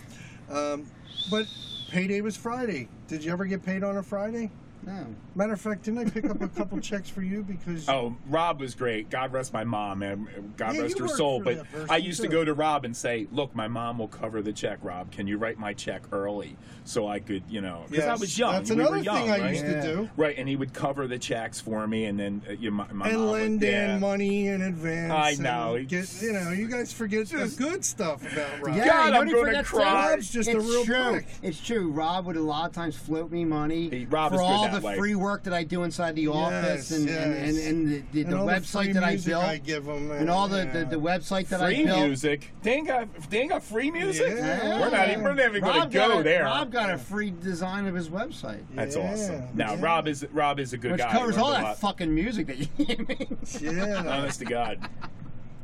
Speaker 3: Um, but payday was Friday. Did you ever get paid on a Friday?
Speaker 2: No.
Speaker 3: Matter of fact, didn't I pick up a couple checks for you because
Speaker 4: Oh, Rob was great. God rest my mom, and God
Speaker 3: Yeah,
Speaker 4: rest
Speaker 3: you
Speaker 4: her
Speaker 3: worked
Speaker 4: soul.
Speaker 3: for
Speaker 4: But
Speaker 3: that person,
Speaker 4: I used to
Speaker 3: too.
Speaker 4: go to Rob and say, "Look, my mom will cover the check. Rob, can you write my check early so I could, you know, because I
Speaker 3: Yes,
Speaker 4: was young.
Speaker 3: That's
Speaker 4: we
Speaker 3: another
Speaker 4: were young,
Speaker 3: thing
Speaker 4: right?
Speaker 3: I used
Speaker 2: Yeah.
Speaker 3: to do.
Speaker 4: Right, and he would cover the checks for me, and then uh, you know, my, my
Speaker 3: and
Speaker 4: mom
Speaker 3: lend
Speaker 4: would, yeah.
Speaker 3: in money in advance.
Speaker 4: I
Speaker 3: and
Speaker 4: know, he-
Speaker 3: Get, you know, you guys forget the good stuff about Rob.
Speaker 2: Yeah,
Speaker 4: God,
Speaker 2: you know what
Speaker 4: I'm
Speaker 2: he
Speaker 4: gonna
Speaker 2: forgets
Speaker 4: cry.
Speaker 3: Rob's just a
Speaker 2: it's
Speaker 3: real
Speaker 2: true.
Speaker 3: prick.
Speaker 2: It's true. Rob would a lot of times float me money
Speaker 4: Hey, Rob
Speaker 2: for
Speaker 4: is good
Speaker 2: all
Speaker 4: that
Speaker 2: the
Speaker 4: way.
Speaker 2: free work that I do inside the office and, and,
Speaker 3: yes.
Speaker 2: and, and the, the,
Speaker 3: And all
Speaker 2: website
Speaker 3: free
Speaker 2: that I
Speaker 3: music
Speaker 2: built
Speaker 3: I give 'em
Speaker 2: and all the, the,
Speaker 3: yeah.
Speaker 2: the website that
Speaker 4: free
Speaker 2: I built.
Speaker 4: music. They ain't got, they ain't got free music.
Speaker 3: Yeah.
Speaker 4: We're not even, we're never going
Speaker 2: Rob
Speaker 4: to go
Speaker 2: got a,
Speaker 4: there.
Speaker 2: Rob got a free design of his website,
Speaker 4: That's
Speaker 3: Yeah,
Speaker 4: awesome. Now
Speaker 3: yeah.
Speaker 4: Rob is Rob is a good
Speaker 2: which
Speaker 4: guy. He
Speaker 2: covers all
Speaker 4: learned a
Speaker 2: that
Speaker 4: lot.
Speaker 2: fucking music that you gave me.
Speaker 3: yeah.
Speaker 4: Honest to God.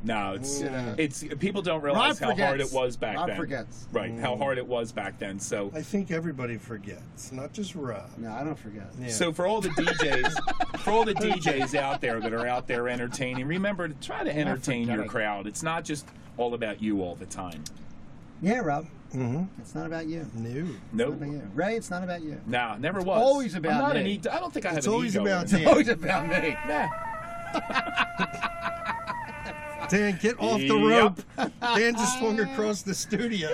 Speaker 4: No, it's
Speaker 2: Yeah.
Speaker 4: it's people don't realize
Speaker 2: Rob
Speaker 4: how hard
Speaker 2: forgets.
Speaker 4: it was back
Speaker 2: Rob
Speaker 4: then.
Speaker 2: forgets. Mm.
Speaker 4: Right, how hard it was back then. So
Speaker 3: I think everybody forgets, not just Rob.
Speaker 2: No, I don't forget.
Speaker 3: Yeah.
Speaker 4: so for all the DJs, for all the DJs out there that are out there entertaining, remember to try to entertain your
Speaker 2: forgetting.
Speaker 4: crowd. It's not just all about you all the time.
Speaker 2: Yeah, Rob,
Speaker 3: mm-hmm.
Speaker 2: it's not about you.
Speaker 3: no.
Speaker 2: It's
Speaker 4: No.
Speaker 2: not about you. Ray, it's not about you.
Speaker 4: Nah, never was.
Speaker 2: always about
Speaker 4: I'm not an
Speaker 2: me.
Speaker 4: e- I don't think I have
Speaker 3: It's
Speaker 4: an
Speaker 3: always
Speaker 4: ego.
Speaker 3: about
Speaker 4: Nah.
Speaker 3: Dan.
Speaker 2: Always about me.
Speaker 3: Dan, get off the rope. Dan just swung across the studio.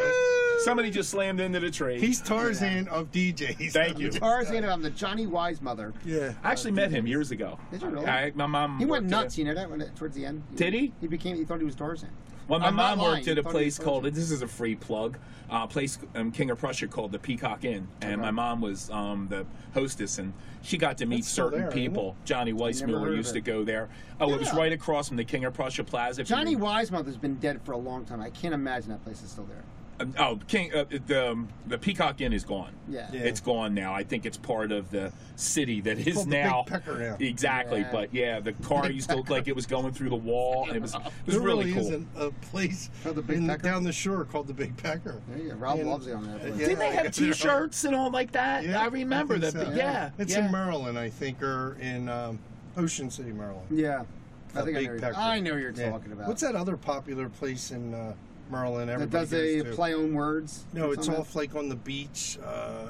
Speaker 4: Somebody just slammed into the tree.
Speaker 3: He's Tarzan of DJs.
Speaker 4: Thank you.
Speaker 2: Tarzan, I'm the Johnny Wise mother.
Speaker 3: Yeah.
Speaker 4: I actually met him years ago.
Speaker 2: Did you really?
Speaker 4: I, my mom.
Speaker 2: He went
Speaker 4: worked at a-
Speaker 2: nuts, you know that when it, towards the end.
Speaker 4: Did he?
Speaker 2: He became. He thought he was Tarzan.
Speaker 4: Well, my
Speaker 2: I'm not
Speaker 4: mom
Speaker 2: lying.
Speaker 4: worked at
Speaker 2: He
Speaker 4: a
Speaker 2: thought he
Speaker 4: place
Speaker 2: was
Speaker 4: called
Speaker 2: Tarzan.
Speaker 4: this is a free plug, uh, place um, King of Prussia called the Peacock Inn, and my mom was um, the hostess, and she got to meet
Speaker 3: That's still
Speaker 4: certain
Speaker 3: there, isn't it?
Speaker 4: people. Johnny
Speaker 2: heard
Speaker 4: Weissmuller
Speaker 2: of
Speaker 4: used to
Speaker 2: it.
Speaker 4: go there. Oh, it was
Speaker 2: Yeah.
Speaker 4: right across from the King of Prussia Plaza. If you
Speaker 2: Johnny
Speaker 4: rem-
Speaker 2: Weismother's been dead for a long time. I can't imagine that place is still there.
Speaker 4: Um, oh, King, uh, the um, the Peacock Inn is gone.
Speaker 2: Yeah.
Speaker 3: Yeah.
Speaker 4: It's gone now. I think it's part of the city that is
Speaker 3: called the Big
Speaker 4: now.
Speaker 3: Pecker now.
Speaker 4: Exactly,
Speaker 2: Yeah.
Speaker 4: but yeah, the car used to look like it was going through the wall. It was it was
Speaker 3: There
Speaker 4: really,
Speaker 3: really,
Speaker 4: cool.
Speaker 3: isn't a place
Speaker 2: Called the Big
Speaker 3: in-
Speaker 2: Pecker?
Speaker 3: down the shore called the Big Pecker.
Speaker 2: There you go. Rob
Speaker 3: And-
Speaker 2: loves it on that.
Speaker 3: Uh,
Speaker 2: place.
Speaker 3: yeah.
Speaker 4: Didn't they have
Speaker 3: I got you.
Speaker 4: T-shirts and all like that?
Speaker 3: Yeah,
Speaker 4: I remember
Speaker 3: think
Speaker 4: that.
Speaker 3: so.
Speaker 4: but yeah,
Speaker 3: It's
Speaker 4: yeah.
Speaker 3: in Maryland, I think, or in um, Ocean City, Maryland.
Speaker 2: Yeah. I
Speaker 3: The
Speaker 2: think I
Speaker 3: Big
Speaker 2: know, you're-
Speaker 3: Pecker.
Speaker 2: I know what you're
Speaker 3: Yeah.
Speaker 2: talking about.
Speaker 3: What's that other popular place in uh, Maryland?
Speaker 2: That
Speaker 3: Everybody
Speaker 2: does a
Speaker 3: goes to?
Speaker 2: play on words.
Speaker 3: No,
Speaker 2: or
Speaker 3: it's
Speaker 2: something?
Speaker 3: off like on the beach. Uh,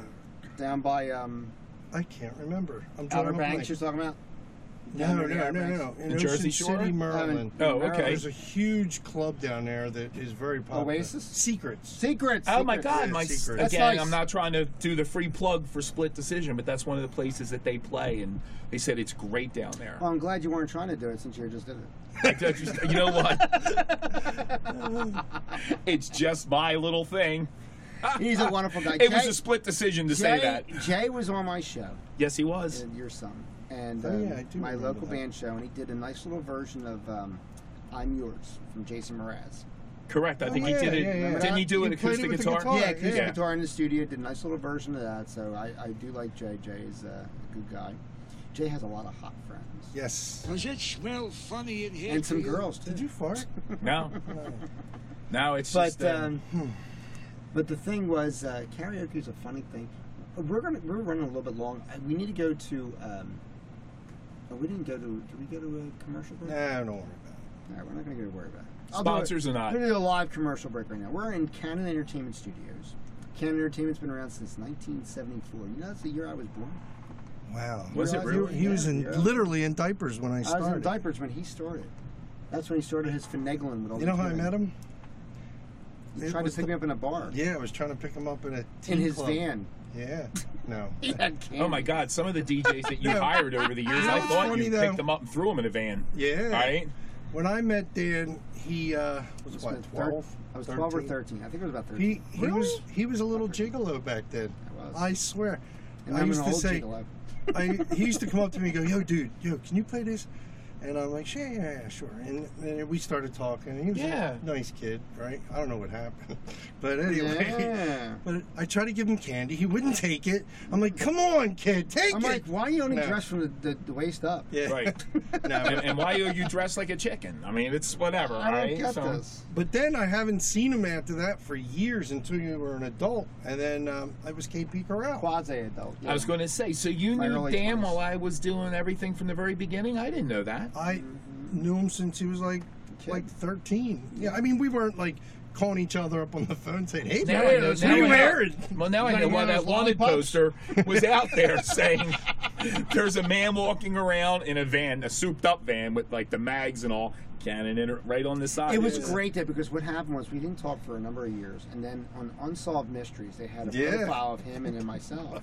Speaker 2: down by um,
Speaker 3: I can't remember. I'm
Speaker 2: Outer
Speaker 3: drawing a
Speaker 2: Banks. You're
Speaker 3: blank.
Speaker 2: talking about? down
Speaker 3: No,
Speaker 2: near the
Speaker 3: no,
Speaker 2: Outer
Speaker 3: no,
Speaker 2: Banks?
Speaker 3: no. In
Speaker 4: The
Speaker 3: Ocean
Speaker 4: Jersey Shore?
Speaker 3: City,
Speaker 2: Um,
Speaker 3: Maryland.
Speaker 4: Oh, okay.
Speaker 3: There's a huge club down there that is very popular.
Speaker 2: Oasis?
Speaker 3: Secrets.
Speaker 2: Secrets.
Speaker 4: Oh my
Speaker 2: secrets.
Speaker 4: God!
Speaker 3: Yeah,
Speaker 4: My
Speaker 3: secret.
Speaker 4: again,
Speaker 2: That's nice.
Speaker 4: I'm not trying to do the free plug for Split Decision, but that's one of the places that they play, and they said it's great down there.
Speaker 2: Well, I'm glad you weren't trying to do it since you just did it.
Speaker 4: I just- you know what? it's just my little thing.
Speaker 2: He's a wonderful guy.
Speaker 4: Ah, It was
Speaker 2: Jay-
Speaker 4: a split decision to
Speaker 2: Jay,
Speaker 4: say that.
Speaker 2: Jay was on my show.
Speaker 4: Yes, he was.
Speaker 2: and your son, and
Speaker 3: Oh,
Speaker 2: um,
Speaker 3: yeah, I do
Speaker 2: my
Speaker 3: remember
Speaker 2: local
Speaker 3: that.
Speaker 2: band show, and he did a nice little version of um, "I'm Yours" from Jason Mraz.
Speaker 4: Correct. I
Speaker 3: Oh,
Speaker 4: think
Speaker 3: yeah,
Speaker 4: he did it.
Speaker 3: yeah, yeah.
Speaker 4: Didn't he do
Speaker 3: You
Speaker 4: an
Speaker 3: played it
Speaker 4: acoustic
Speaker 3: with the
Speaker 4: guitar?
Speaker 3: guitar.
Speaker 2: yeah,
Speaker 3: Oh, yeah.
Speaker 2: acoustic
Speaker 4: Yeah.
Speaker 2: guitar in the studio. Did a nice little version of that. So I, I do like Jay. Jay is a uh, good guy. Jay has a lot of hot friends
Speaker 3: Yes.
Speaker 5: Does it smell funny in here?
Speaker 2: and some
Speaker 5: to you?
Speaker 2: girls too.
Speaker 3: Did you fart?
Speaker 4: No, no. It's
Speaker 2: But
Speaker 4: just. uh,
Speaker 2: um,
Speaker 3: Hmm.
Speaker 2: but the thing was, uh, karaoke is a funny thing. We're gonna we're running a little bit long. Uh, We need to go to. Um, oh, we didn't go to. Did we go to a commercial break?
Speaker 3: nah, don't worry about
Speaker 2: All right, we're not going to go to worry about it. I'll do it.
Speaker 4: sponsors or
Speaker 2: I'm
Speaker 4: not?
Speaker 2: gonna do a live commercial break right now. We're in Canon Entertainment Studios. Canon Entertainment's been around since 1974. You know, that's the year I was born.
Speaker 3: it. Wow.
Speaker 4: Was it
Speaker 2: Realize
Speaker 4: really?
Speaker 3: He was in
Speaker 2: Yeah.
Speaker 3: literally in diapers when I
Speaker 2: I
Speaker 3: started.
Speaker 2: was in diapers when he started. That's when he started his finagling with all
Speaker 3: You
Speaker 2: these
Speaker 3: know how I
Speaker 2: women.
Speaker 3: met him?
Speaker 2: He
Speaker 3: It
Speaker 2: tried to
Speaker 3: was
Speaker 2: pick
Speaker 3: the-
Speaker 2: me up in a bar.
Speaker 3: Yeah, I was trying to pick him up in a tea
Speaker 2: In his
Speaker 3: club.
Speaker 2: van.
Speaker 3: Yeah. No.
Speaker 2: He had candy.
Speaker 4: Oh my God! Some of the DJs that you
Speaker 3: No.
Speaker 4: hired over the years,
Speaker 3: You know
Speaker 4: I
Speaker 3: what's
Speaker 4: thought
Speaker 3: funny,
Speaker 4: you
Speaker 3: though?
Speaker 4: picked them up and threw them in a van.
Speaker 3: Yeah.
Speaker 4: Right?
Speaker 3: When I met Dan, he uh, was
Speaker 2: I
Speaker 3: what
Speaker 2: was thir-
Speaker 3: twelve.
Speaker 2: I was 12 or
Speaker 3: 13?
Speaker 2: 13. I think it was about 13.
Speaker 3: He he
Speaker 2: Really?
Speaker 3: was he was a little gigolo back then.
Speaker 2: I was.
Speaker 3: swear.
Speaker 2: and
Speaker 3: I
Speaker 2: I'm
Speaker 3: used
Speaker 2: an
Speaker 3: to
Speaker 2: old
Speaker 3: say
Speaker 2: gigolo.
Speaker 3: I, he used to come up to me and go, "Yo, dude, yo, can you play this?" And I'm like, "Yeah, yeah, yeah, sure." And then we started talking. And he was
Speaker 4: Yeah.
Speaker 3: a nice kid, right? I don't know what happened, but anyway.
Speaker 2: Yeah.
Speaker 3: But I tried to give him candy. He wouldn't take it. I'm like, "Come on, kid, take
Speaker 2: I'm
Speaker 3: it."
Speaker 2: like, why are you only
Speaker 3: No.
Speaker 2: dressed from the, the, the waist up?
Speaker 3: yeah.
Speaker 4: Right.
Speaker 3: no,
Speaker 4: and, and why are you dressed like a chicken? I mean, it's whatever,
Speaker 2: I don't
Speaker 4: right?
Speaker 2: get
Speaker 4: So-
Speaker 2: this.
Speaker 3: But then I haven't seen him after that for years until you were an adult, and then um, I was KP Corral.
Speaker 2: Quasi adult.
Speaker 4: I was going to say, so you
Speaker 2: My
Speaker 4: knew
Speaker 2: early
Speaker 4: Dan
Speaker 2: 20s.
Speaker 4: while I was doing everything from the very beginning? I didn't know that.
Speaker 3: I knew him since he was like
Speaker 2: Kid.
Speaker 3: like 13. Yeah, I mean we weren't like calling each other up on the phone saying, "Hey,
Speaker 4: Now
Speaker 3: Barry,
Speaker 4: I know-
Speaker 3: who
Speaker 4: now I
Speaker 3: you
Speaker 4: know-
Speaker 3: married?"
Speaker 4: Well, now I
Speaker 2: You
Speaker 4: know
Speaker 2: got
Speaker 4: why
Speaker 2: any of those
Speaker 4: that wanted
Speaker 2: lollipops?
Speaker 4: poster was out there saying, There's a man walking around in a van, a souped up van with like the mags and all, cannon in it right on the side.
Speaker 2: It was
Speaker 4: Yeah.
Speaker 2: great that because what happened was we didn't talk for a number of years, and then on Unsolved Mysteries, they had a
Speaker 3: Yeah.
Speaker 2: profile of him and then myself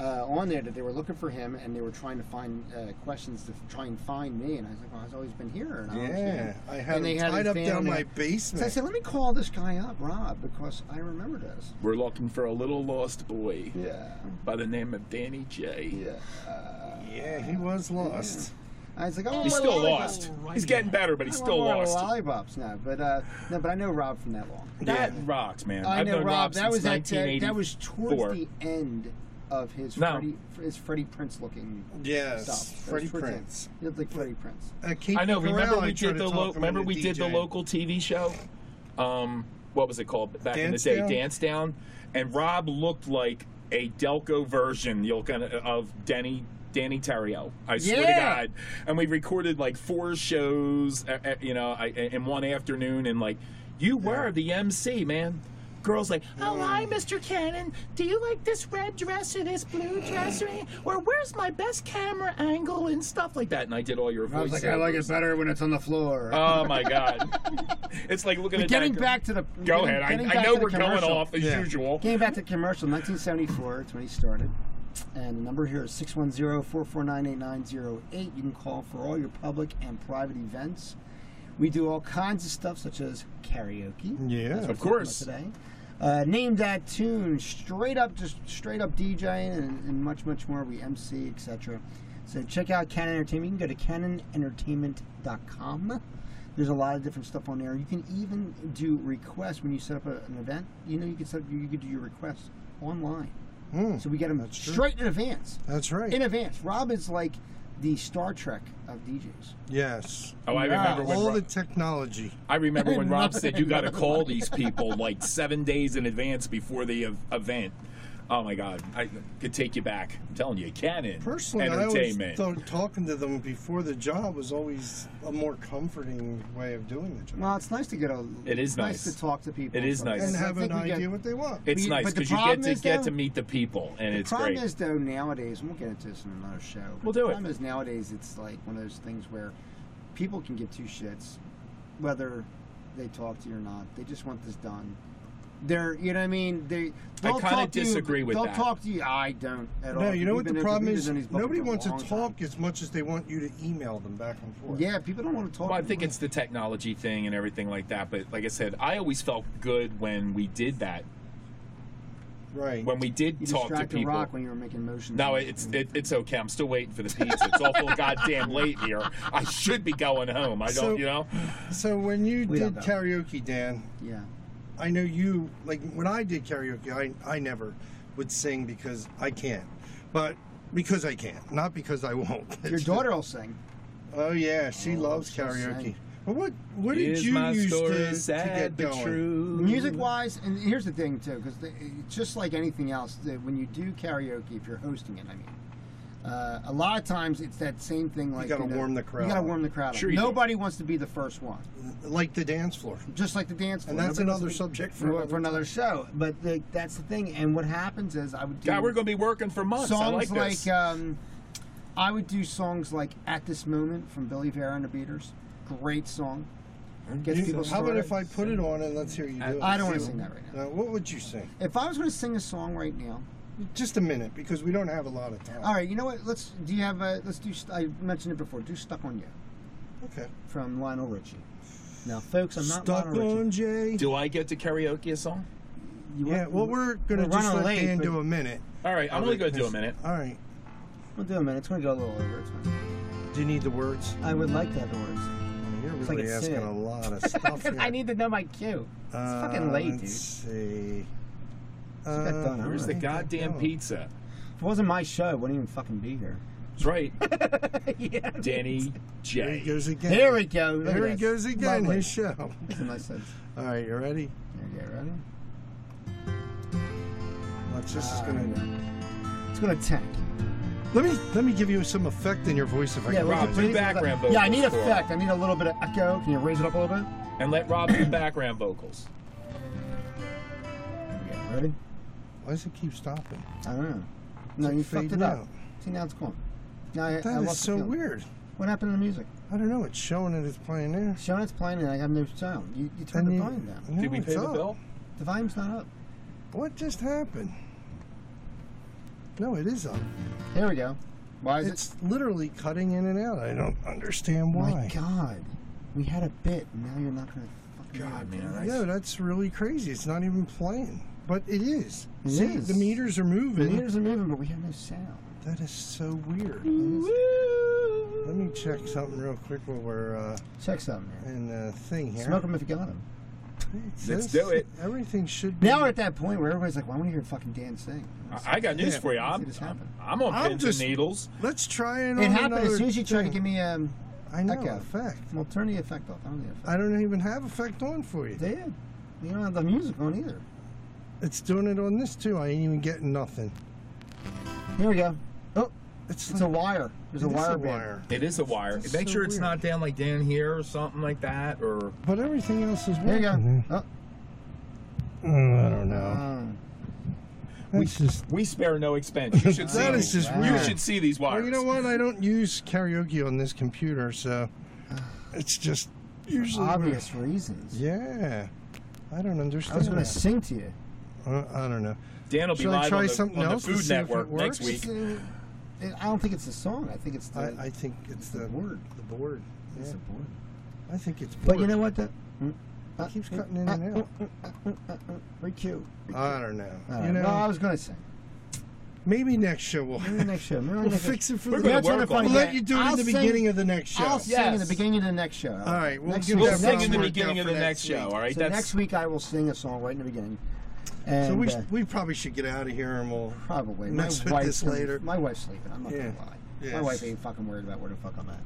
Speaker 2: uh, on there that they were looking for him, and they were trying to find uh, questions to try and find me, and I was like, well, I've always been here, and I don't
Speaker 3: Yeah,
Speaker 2: understand."
Speaker 3: I had
Speaker 2: And they
Speaker 3: him
Speaker 2: had
Speaker 3: tied
Speaker 2: his
Speaker 3: up
Speaker 2: van
Speaker 3: down
Speaker 2: there.
Speaker 3: my
Speaker 2: So I
Speaker 3: basement.
Speaker 2: said, let me call this guy up, Rob, because I remember this.
Speaker 4: We're looking for a little lost boy
Speaker 2: Yeah,
Speaker 4: by the name of Danny J.
Speaker 2: yeah.
Speaker 3: Yeah, he was lost.
Speaker 2: I was like, oh,
Speaker 4: He's still lost. He's getting better, but he's still lost.
Speaker 2: lollipops now, but uh, no, but I know Rob from that long.
Speaker 4: That
Speaker 3: Yeah.
Speaker 4: rocks, man.
Speaker 2: I
Speaker 4: have
Speaker 2: know
Speaker 4: known
Speaker 2: Rob. that
Speaker 4: since
Speaker 2: was at, uh, that was
Speaker 4: 1984.
Speaker 2: towards the end of his
Speaker 4: No.
Speaker 2: Freddie his Freddie Prince looking
Speaker 3: Yes,
Speaker 2: stuff. That
Speaker 3: Freddie
Speaker 2: was towards the end.
Speaker 3: Prince.
Speaker 2: He looked like Freddie Prince.
Speaker 3: Uh, Kate
Speaker 4: I know. remember
Speaker 3: Corral, I
Speaker 4: we
Speaker 3: tried to
Speaker 4: did the
Speaker 3: talk
Speaker 4: lo-
Speaker 3: him
Speaker 4: remember
Speaker 3: into
Speaker 4: we did the
Speaker 3: DJing.
Speaker 4: local TV show. Um, what was it called back in the
Speaker 3: Dance
Speaker 4: day?
Speaker 3: Down?
Speaker 4: Dance Down. And Rob looked like a Delco version. You'll kind of of Denny. Danny Terrio, I swear to
Speaker 2: Yeah.
Speaker 4: God, and we recorded like four shows, uh, uh, you know, I, in one afternoon, and like, you were the MC, man. Girls like, oh hi, Mr. Cannon. Do you like this red dress or this blue dress or anything? Or where's my best camera angle and stuff like that? And I did all your voices.
Speaker 2: better when it's on the floor.
Speaker 4: Oh my god! it's like looking at
Speaker 2: getting
Speaker 4: that-
Speaker 2: back to the
Speaker 4: Go
Speaker 2: getting-
Speaker 4: ahead.
Speaker 2: getting
Speaker 4: I, I
Speaker 2: back
Speaker 4: know
Speaker 2: to the
Speaker 4: we're going
Speaker 2: commercial.
Speaker 4: off as
Speaker 3: Yeah.
Speaker 4: usual.
Speaker 2: Getting back to the commercial, 1974. It's when he started. And the number here is 610-449-8908. You can call for all your public and private events. We do all kinds of stuff, such as karaoke.
Speaker 3: Yeah,
Speaker 2: That's what
Speaker 4: of
Speaker 2: we're talking
Speaker 4: course.
Speaker 2: about Today. Uh, name that tune straight up, just straight up DJing and, and much, much more. We MC, etc. So check out Canon Entertainment. You can go to canonentertainment.com. There's a lot of different stuff on there. You can even do requests when you set up a, an event. You know, you can set up, you can do your requests online. So we get them
Speaker 3: Hmm. true.
Speaker 2: straight in advance.
Speaker 3: that's right.
Speaker 2: In advance. Rob is like the Star Trek of DJs.
Speaker 3: yes,
Speaker 4: Oh, I remember when
Speaker 3: all
Speaker 4: Rob,
Speaker 3: the technology.
Speaker 4: I remember when Rob said you got to call these people like seven days in advance before the ev- event. Oh my god, I could take you back. I'm telling you, Canon
Speaker 3: Personally, I always
Speaker 4: Entertainment.
Speaker 3: thought talking to them before the job was always a more comforting way of doing the job
Speaker 2: Well, it's nice to get a.
Speaker 4: It is
Speaker 2: it's nice.
Speaker 4: nice.
Speaker 2: to talk to people.
Speaker 4: It is nice.
Speaker 3: and
Speaker 2: I
Speaker 3: have an
Speaker 2: think we
Speaker 3: idea
Speaker 2: get-
Speaker 3: what they want.
Speaker 4: it's
Speaker 2: but
Speaker 4: nice
Speaker 2: the
Speaker 4: because you
Speaker 2: problem
Speaker 4: get to
Speaker 2: is,
Speaker 4: get
Speaker 2: though,
Speaker 4: to meet the people, and it's
Speaker 2: problem
Speaker 4: great.
Speaker 2: is though nowadays, and we'll get into this in another show. But
Speaker 4: We'll do
Speaker 2: the
Speaker 4: it.
Speaker 2: Problem is nowadays, it's like one of those things where people can give two shits whether they talk to you or not. They just want this done. They're, you know what I mean? They. they'll
Speaker 4: kinda
Speaker 2: talk to you-
Speaker 4: disagree with
Speaker 2: They'll
Speaker 4: that.
Speaker 2: talk to you. I don't at all.
Speaker 3: No, you know
Speaker 2: We've
Speaker 3: what
Speaker 2: been
Speaker 3: the
Speaker 2: at
Speaker 3: problem
Speaker 2: computers
Speaker 3: is?
Speaker 2: on these buttons
Speaker 3: Nobody
Speaker 2: for a
Speaker 3: wants to
Speaker 2: long time.
Speaker 3: talk as much as they want you to email them back and forth.
Speaker 2: Yeah, people don't want to talk.
Speaker 4: Well, I
Speaker 2: to
Speaker 4: think
Speaker 2: you.
Speaker 4: it's the technology thing and everything like that. But like I said, I always felt good when we did that.
Speaker 3: right.
Speaker 4: When we did
Speaker 2: you
Speaker 4: talk to
Speaker 2: distracted
Speaker 4: people.
Speaker 2: Rock when you were making motions.
Speaker 4: No, it's it, it's okay. I'm still waiting for the pizza. It's awful goddamn late here. I should be going home. I don't,
Speaker 3: So-
Speaker 4: you know.
Speaker 3: so when you
Speaker 2: We don't
Speaker 3: did
Speaker 2: know.
Speaker 3: karaoke, Dan,
Speaker 2: yeah.
Speaker 3: I know you like when I did karaoke. I I never would sing because I can't, but because I can't, not because I won't.
Speaker 2: Your daughter will sing.
Speaker 3: Oh yeah, she
Speaker 2: Oh,
Speaker 3: loves
Speaker 2: she'll
Speaker 3: karaoke.
Speaker 2: sing.
Speaker 3: But what what did you use to, to get
Speaker 4: but
Speaker 3: going?
Speaker 4: true.
Speaker 2: Music wise, and here's the thing too, because just like anything else, that when you do karaoke, if you're hosting it, I mean, uh, a lot of times it's that same thing. Like
Speaker 3: gotta
Speaker 2: know,
Speaker 3: warm the crowd
Speaker 2: You gotta
Speaker 3: up.
Speaker 2: warm the crowd. up.
Speaker 4: Sure you do.
Speaker 2: Nobody wants to be the first one,
Speaker 3: Like the dance floor,
Speaker 2: just like the dance.
Speaker 3: and
Speaker 2: floor.
Speaker 3: that's
Speaker 2: Nobody
Speaker 3: another
Speaker 2: wants to be-
Speaker 3: subject for,
Speaker 2: for,
Speaker 3: another
Speaker 2: for another show. But like, that's the thing. And what happens is, I would do
Speaker 4: God, we're going to be working for months. I like
Speaker 2: songs
Speaker 4: this.
Speaker 3: uh,
Speaker 2: um, I would do songs like "At This Moment" from Billy Vera and the Beaters. Great song. Gets
Speaker 3: You-
Speaker 2: people
Speaker 3: how about
Speaker 2: started.
Speaker 3: if I put it on and let's hear you do it?
Speaker 2: I don't want to sing that right now.
Speaker 3: Now, what would you sing?
Speaker 2: If I was going to sing a song right now,
Speaker 3: Just a minute, because we don't have a lot of time.
Speaker 2: All right, you know what? Let's do you have a let's do. st- I mentioned it before. Do "Stuck on You"
Speaker 3: Okay.
Speaker 2: from Lionel Richie. Now, folks, I'm not
Speaker 3: Stuck
Speaker 2: Lionel
Speaker 3: on
Speaker 2: Richie.
Speaker 3: Jay.
Speaker 4: Do I get to karaoke a song?
Speaker 2: You
Speaker 3: Yeah,
Speaker 2: want-
Speaker 3: well, we're gonna
Speaker 2: we're
Speaker 3: just
Speaker 2: running
Speaker 3: let
Speaker 2: late,
Speaker 3: Dan
Speaker 2: but-
Speaker 3: do a minute.
Speaker 4: All right, I'm only going to do a minute.
Speaker 3: All right.
Speaker 2: we'll do a minute. It's gonna go a little over. It's fine.
Speaker 3: Do you need the words?
Speaker 2: I would like to have the words.
Speaker 3: You're
Speaker 2: like
Speaker 3: really
Speaker 2: it's
Speaker 3: asking
Speaker 2: sad.
Speaker 3: a lot of stuff. here.
Speaker 2: I need to know my cue. It's
Speaker 3: Uh,
Speaker 2: fucking late,
Speaker 3: Let's
Speaker 2: dude.
Speaker 3: see.
Speaker 2: got done,
Speaker 3: Uh,
Speaker 4: Where's
Speaker 2: I
Speaker 4: the
Speaker 2: think
Speaker 4: goddamn pizza?
Speaker 2: If it wasn't my show, I wouldn't even fucking be here.
Speaker 4: That's right,
Speaker 2: yeah.
Speaker 4: Danny
Speaker 3: There he
Speaker 4: J.
Speaker 3: goes again.
Speaker 2: Here we go. Look at
Speaker 3: Here he
Speaker 2: this.
Speaker 3: goes again.
Speaker 2: Lovely.
Speaker 3: His show.
Speaker 2: That's a nice sense.
Speaker 3: All right, you ready?
Speaker 2: There you go. Ready?
Speaker 3: Watch. This is gonna.
Speaker 2: It's gonna tank. Uh,
Speaker 3: Let me let me give you some effect in your voice if I can.
Speaker 2: would
Speaker 4: Rob,
Speaker 2: you
Speaker 4: do
Speaker 2: please-
Speaker 4: background
Speaker 2: Yeah, I
Speaker 4: vocals
Speaker 2: need
Speaker 4: for it.
Speaker 2: effect. I need a little bit of echo. Can you raise it up a little bit?
Speaker 4: And let Rob do background vocals.
Speaker 2: There we go. Ready?
Speaker 3: Why does it keep stopping?
Speaker 2: I don't know. No, you fucked
Speaker 3: Fading
Speaker 2: it up.
Speaker 3: out.
Speaker 2: See, now it's gone. Now I, I
Speaker 3: That
Speaker 2: lost
Speaker 3: is
Speaker 2: the
Speaker 3: so
Speaker 2: feeling.
Speaker 3: weird.
Speaker 2: What happened to the music?
Speaker 3: I don't know. It's showing and it's playing there.
Speaker 2: Showing it's playing and I have no sound. You, you turned
Speaker 3: And
Speaker 2: the
Speaker 3: you-
Speaker 2: volume down.
Speaker 3: no,
Speaker 4: Did we
Speaker 3: it's
Speaker 4: pay the
Speaker 3: up.
Speaker 4: bill?
Speaker 2: The volume's not up.
Speaker 3: What just happened? No, it is up.
Speaker 2: There we go. Why is
Speaker 3: It's literally cutting in and out. I don't understand
Speaker 2: it?
Speaker 3: why.
Speaker 2: My God. We had a bit and now you're not going to fucking.
Speaker 4: God, man. I,
Speaker 3: No, that's really crazy. It's not even playing, but it is.
Speaker 2: It
Speaker 3: See,
Speaker 2: is.
Speaker 3: the meters are
Speaker 2: The
Speaker 3: moving.
Speaker 2: meters are moving, but we have no sound.
Speaker 3: That is so weird.
Speaker 2: Mm.
Speaker 3: Let me check something real quick while we're uh,
Speaker 2: Check something here.
Speaker 3: in the thing here.
Speaker 2: Smoke them if you got them.
Speaker 3: It
Speaker 4: Let's
Speaker 3: says
Speaker 4: do it.
Speaker 3: Everything should be.
Speaker 2: Now we're at that point where everybody's like, well, I want to hear fucking Dan sing.
Speaker 4: I got news
Speaker 3: Yeah,
Speaker 4: for you.
Speaker 2: I see
Speaker 4: I'm,
Speaker 2: this happen.
Speaker 4: I'm on
Speaker 3: I'm
Speaker 4: pins
Speaker 3: just-
Speaker 4: and needles.
Speaker 3: Let's try it.
Speaker 2: It
Speaker 3: on
Speaker 2: happened as
Speaker 3: another
Speaker 2: soon as you tried to
Speaker 3: thing.
Speaker 2: give me um,
Speaker 3: I know.
Speaker 2: Okay.
Speaker 3: Effect.
Speaker 2: Well, turn the effect off. I don't need effect.
Speaker 3: I don't even have effect on for you.
Speaker 2: They did. You don't have the music on either.
Speaker 3: It's doing it on this too. I ain't even getting nothing.
Speaker 2: Here we go. Oh,
Speaker 3: It's,
Speaker 2: it's a wire. There's a wire band.
Speaker 4: It is a wire.
Speaker 3: That's
Speaker 4: Make
Speaker 3: so
Speaker 4: sure it's
Speaker 3: weird.
Speaker 4: not down like down here or something like that. Or
Speaker 3: But everything else is
Speaker 2: There you go.
Speaker 3: working.
Speaker 2: Oh,
Speaker 3: Mm, I don't know.
Speaker 2: um,
Speaker 3: That's just.
Speaker 4: we spare no expense. You should see.
Speaker 3: That
Speaker 2: Oh,
Speaker 3: is just
Speaker 2: wow.
Speaker 4: You
Speaker 3: weird.
Speaker 4: should see these wires.
Speaker 3: Well, you know what? I don't use karaoke on this computer, so it's just usually
Speaker 2: obvious reasons.
Speaker 3: Yeah, I don't
Speaker 2: I
Speaker 3: understand.
Speaker 2: was going to
Speaker 3: that.
Speaker 2: sing to you.
Speaker 3: Uh, I don't know.
Speaker 4: Dan will be
Speaker 3: Shall I
Speaker 4: live
Speaker 3: try
Speaker 4: on the,
Speaker 3: something
Speaker 4: on the
Speaker 3: else to
Speaker 4: Food
Speaker 3: see if it
Speaker 4: Network next
Speaker 3: works?
Speaker 4: week.
Speaker 2: It's, uh, it- I don't think it's the song. I think it's the.
Speaker 3: I, I think it's the board. The board.
Speaker 2: it's the board. Hmm? Uh,
Speaker 3: I think it's. Board.
Speaker 2: But you know what? That
Speaker 3: It keeps cutting in and out.
Speaker 2: Recue.
Speaker 3: I don't know.
Speaker 2: Uh,
Speaker 3: you know,
Speaker 2: no, I was going to sing.
Speaker 3: maybe next show we'll.
Speaker 2: Maybe next show. Maybe
Speaker 3: we'll
Speaker 2: next
Speaker 3: fix it for
Speaker 4: We're
Speaker 3: the.
Speaker 4: gonna
Speaker 3: next
Speaker 4: work on
Speaker 3: We'll
Speaker 4: it.
Speaker 3: let you do it
Speaker 2: I'll
Speaker 3: in the
Speaker 2: sing-
Speaker 3: beginning of the next show.
Speaker 2: I'll sing in the
Speaker 4: Yes.
Speaker 2: beginning of the next show. All
Speaker 3: right, we'll
Speaker 2: next
Speaker 3: give
Speaker 2: week-
Speaker 4: We'll
Speaker 3: that
Speaker 4: sing in the
Speaker 3: worked
Speaker 4: beginning
Speaker 3: out
Speaker 4: of
Speaker 3: for
Speaker 4: the
Speaker 3: next
Speaker 4: next show.
Speaker 3: week.
Speaker 4: All right,
Speaker 2: So
Speaker 4: that's
Speaker 2: next week I will sing a song right in the beginning. And,
Speaker 3: so we,
Speaker 2: uh,
Speaker 3: sh we probably should get out of here and we'll.
Speaker 2: Probably.
Speaker 3: mess
Speaker 2: my
Speaker 3: with
Speaker 2: wife's
Speaker 3: this
Speaker 2: gonna be-
Speaker 3: later.
Speaker 2: My wife's sleeping. I'm not
Speaker 3: Yeah.
Speaker 2: gonna lie. My
Speaker 3: Yes.
Speaker 2: wife ain't fucking worried about where the fuck I'm at.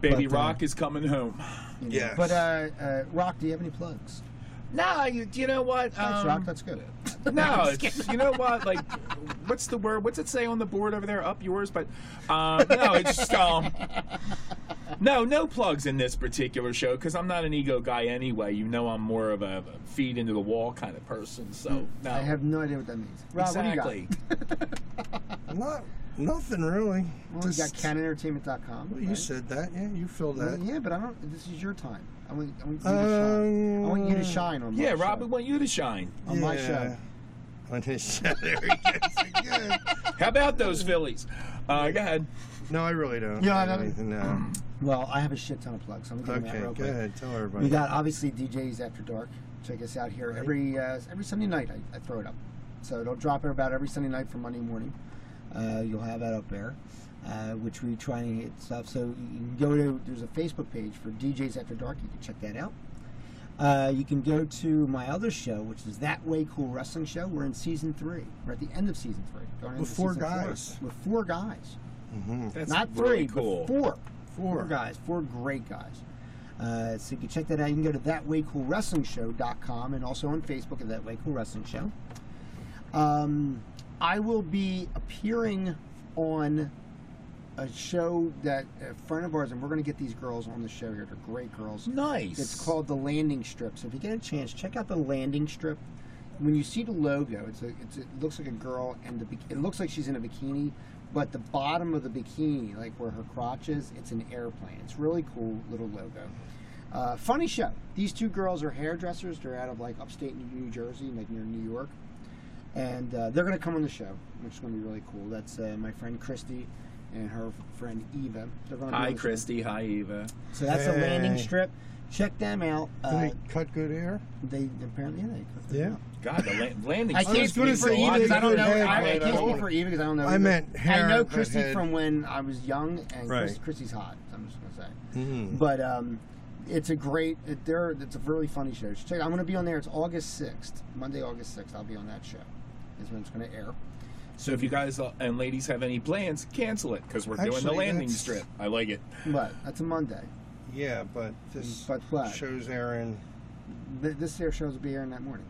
Speaker 4: Baby
Speaker 2: But, uh,
Speaker 4: Rock is coming home.
Speaker 2: you know.
Speaker 3: Yes.
Speaker 2: But uh, uh, Rock, do you have any plugs?
Speaker 4: No, you, you know what?
Speaker 2: Thanks,
Speaker 4: um,
Speaker 2: Rock. That's good.
Speaker 4: no, it's, you know what? Like, what's the word? What's it say on the board over there? Up yours, but um, no, it's just, um, no, no plugs in this particular show because I'm not an ego guy anyway. You know, I'm more of a feed into the wall kind of person. So no,
Speaker 2: Hmm. I have no idea what that means. Rob, what do you
Speaker 4: exactly.
Speaker 2: got?
Speaker 3: Not nothing really.
Speaker 2: Well, you got
Speaker 3: Just-
Speaker 2: canonentertainment.com.
Speaker 3: Well, you
Speaker 2: right?
Speaker 3: said that. Yeah, you filled
Speaker 2: Well,
Speaker 3: that.
Speaker 2: yeah, but I don't. This is your time. I want, I want you to shine. I want you to
Speaker 3: Um,
Speaker 2: shine on my
Speaker 4: Yeah,
Speaker 2: show.
Speaker 4: Rob, we want you to shine.
Speaker 2: on my show.
Speaker 3: On his show. There he goes again.
Speaker 4: How about those Phillies? Uh, go ahead.
Speaker 3: No, I really don't.
Speaker 2: Yeah, I
Speaker 3: have
Speaker 2: don't-
Speaker 3: anything now.
Speaker 2: Well, I have a shit ton of plugs. So I'm gonna give
Speaker 3: Okay,
Speaker 2: them out real
Speaker 3: go
Speaker 2: quick.
Speaker 3: ahead. Tell everybody.
Speaker 2: We got obviously DJs After Dark. Check us out here every uh, every Sunday night. I, I throw it up, so it'll drop about every Sunday night for Monday morning. Uh, you'll have that up there, uh, which we try and get stuff. So you can go to there's a Facebook page for DJs After Dark. You can check that out. Uh, you can go to my other show, which is That Way Cool Wrestling Show. We're in season three. We're at the end of season three. Going into
Speaker 3: With four
Speaker 2: season four.
Speaker 3: guys.
Speaker 2: With four guys
Speaker 4: That's
Speaker 2: not three,
Speaker 4: really
Speaker 2: but
Speaker 4: cool.
Speaker 2: four.
Speaker 3: Four.
Speaker 2: Four guys, four great guys. Uh, so you can check that out. You can go to thatwaycoolwrestlingshow.com and also on Facebook at That Way Cool Wrestling Show. Um, I will be appearing on a show that a friend of ours, and we're going to get these girls on the show here. They're great girls.
Speaker 4: Nice.
Speaker 2: It's called the landing strip. So if you get a chance, check out the landing strip. When you see the logo, it's a, it's a, it looks like a girl, and the bik- it looks like she's in a bikini, but the bottom of the bikini, like where her crotch is, it's an airplane. It's really cool little logo. Uh, funny show. These two girls are hairdressers. They're out of like upstate New Jersey, like near New York, and uh, they're gonna come on the show, which is gonna be really cool. That's uh, my friend Christy and her friend Eva. They're gonna be
Speaker 4: Hi,
Speaker 2: on the show.
Speaker 4: Christy. Hi, Eva.
Speaker 2: So that's the landing
Speaker 3: Hey.
Speaker 2: strip. Check them out.
Speaker 3: Do
Speaker 2: Uh,
Speaker 3: they cut good air?
Speaker 2: they apparently yeah, they cut them
Speaker 3: Yeah.
Speaker 2: out.
Speaker 4: God, the la- landing.
Speaker 2: I
Speaker 4: strip
Speaker 2: can't
Speaker 3: was
Speaker 2: speak
Speaker 3: gonna
Speaker 2: for
Speaker 3: say
Speaker 2: Eva. 'cause
Speaker 3: either
Speaker 2: I don't know. E,
Speaker 3: head,
Speaker 2: I, I
Speaker 3: but I
Speaker 2: can't speak
Speaker 3: don't-
Speaker 2: for Eva because I don't know.
Speaker 3: I
Speaker 2: Eva.
Speaker 3: meant hair,
Speaker 2: I know
Speaker 3: not
Speaker 2: Christy
Speaker 3: head.
Speaker 2: from when I was young, and Chris,
Speaker 3: Right.
Speaker 2: Christy's hot. So I'm just gonna say.
Speaker 3: Mm.
Speaker 2: But um, it's a great. It, there, it's a really funny show. Check. it- I'm gonna be on there. It's August sixth, Monday, August sixth. I'll be on that show. Is when it's gonna air.
Speaker 4: So if you guys uh, and ladies have any plans, cancel it because we're doing the
Speaker 3: Actually,
Speaker 4: landing
Speaker 3: that's-
Speaker 4: strip. I like it.
Speaker 2: But that's a Monday.
Speaker 3: Yeah, but this
Speaker 2: Mm, But what?
Speaker 3: shows Aaron.
Speaker 2: Th- This air shows will be airing that morning.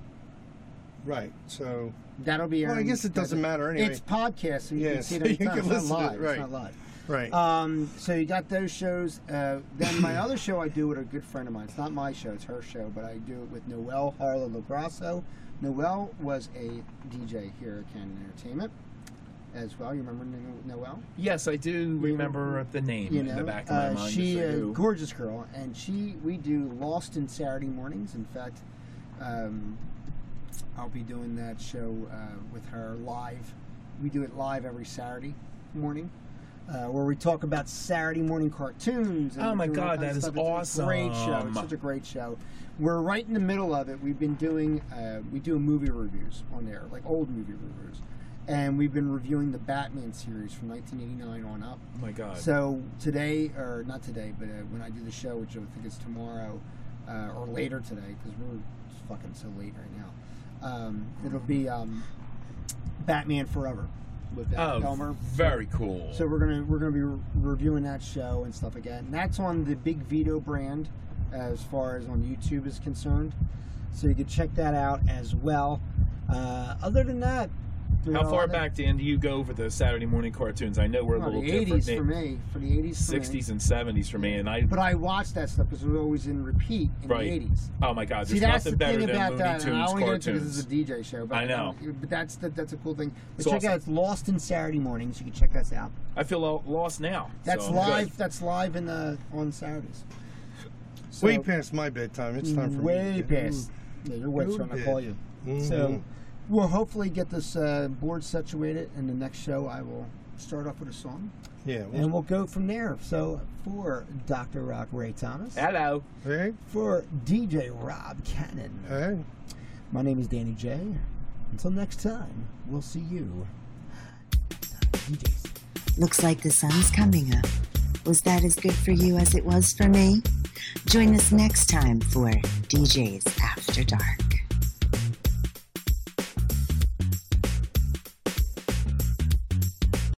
Speaker 3: Right. So
Speaker 2: That'll be airing.
Speaker 3: Well, I guess it doesn't matter anyway.
Speaker 2: It's podcast, so you
Speaker 3: Yeah,
Speaker 2: can see it
Speaker 3: so
Speaker 2: anytime.
Speaker 3: you can
Speaker 2: it's
Speaker 3: listen
Speaker 2: not
Speaker 3: to it,
Speaker 2: live. It's
Speaker 3: right.
Speaker 2: not live.
Speaker 3: right.
Speaker 2: Um, so you got those shows. Uh, then my other show I do with a good friend of mine. It's not my show; it's her show, but I do it with Noelle Harlow Lagrasso. Noelle was a DJ here at Cannon Entertainment. as well. You remember No- Noelle?
Speaker 4: Yes, I do remember the name
Speaker 2: You
Speaker 4: in
Speaker 2: know,
Speaker 4: the back of my
Speaker 2: uh,
Speaker 4: mind.
Speaker 2: she
Speaker 4: yes, I
Speaker 2: a
Speaker 4: do.
Speaker 2: gorgeous girl, and she we do Lost in Saturday mornings. In fact, um, I'll be doing that show uh, with her live. We do it live every Saturday morning. Uh, where we talk about Saturday morning cartoons. And
Speaker 4: Oh,
Speaker 2: we're
Speaker 4: my
Speaker 2: doing all kinds
Speaker 4: God, that
Speaker 2: of
Speaker 4: is
Speaker 2: stuff. It's a Great show!
Speaker 4: awesome.
Speaker 2: It's such a great show. We're right in the middle of it. We've been doing uh, we do movie reviews on there, like old movie reviews, and we've been reviewing the Batman series from 1989 on up.
Speaker 4: oh my God.
Speaker 2: So today, or not today, but uh, when I do the show, which I think is tomorrow uh, or later today, because we're fucking so late right now. Um, it'll be um, Batman Forever with Val
Speaker 4: oh,
Speaker 2: Kilmer.
Speaker 4: very cool.
Speaker 2: So we're gonna we're gonna be re- reviewing that show and stuff again. And that's on the Big Vito brand, as far as on YouTube is concerned. So you can check that out as well. Uh, other than that, you
Speaker 4: How
Speaker 2: know,
Speaker 4: far
Speaker 2: that-
Speaker 4: back, Dan, do you go for the Saturday morning cartoons? I know we're a
Speaker 2: well,
Speaker 4: little
Speaker 2: the
Speaker 4: different.
Speaker 2: 80s for me, for the 80s, for me.
Speaker 4: 60s and 70s for me, and I.
Speaker 2: But I watched that stuff because it was always in repeat in
Speaker 4: Right.
Speaker 2: the 80s.
Speaker 4: Oh my God! There's
Speaker 2: See, that's the
Speaker 4: nothing better
Speaker 2: thing
Speaker 4: than
Speaker 2: about
Speaker 4: Looney
Speaker 2: that. and I
Speaker 4: Tunes
Speaker 2: only get it because
Speaker 4: cartoons.
Speaker 2: it's a DJ show. But
Speaker 4: I know.
Speaker 2: But that's the, that's a cool thing. But
Speaker 4: It's
Speaker 2: check
Speaker 4: awesome.
Speaker 2: out it's Lost in Saturday mornings. You can check us out.
Speaker 4: I feel lo- lost now.
Speaker 2: That's
Speaker 4: so I'm
Speaker 2: live.
Speaker 4: good.
Speaker 2: That's live in the on Saturdays. So, mm,
Speaker 3: way past my bedtime. It's time for
Speaker 2: way
Speaker 3: me. to get- Mm.
Speaker 2: past. Yeah, your wife's
Speaker 3: Ooh,
Speaker 2: trying to
Speaker 3: yeah.
Speaker 2: call you.
Speaker 3: Mhm.
Speaker 2: So we'll hopefully get this uh, board situated, and the next show I will start off with a song,
Speaker 3: yeah. Well,
Speaker 2: and we'll go from there. So for Dr. Rock Ray Thomas,
Speaker 4: Hello.
Speaker 3: hey,
Speaker 2: for DJ Rob Cannon.
Speaker 3: hey.
Speaker 2: My name is Danny J. Until next time, we'll see you. DJs.
Speaker 1: Looks like the sun's coming up. Was that as good for you as it was for me? Join us next time for DJs After Dark.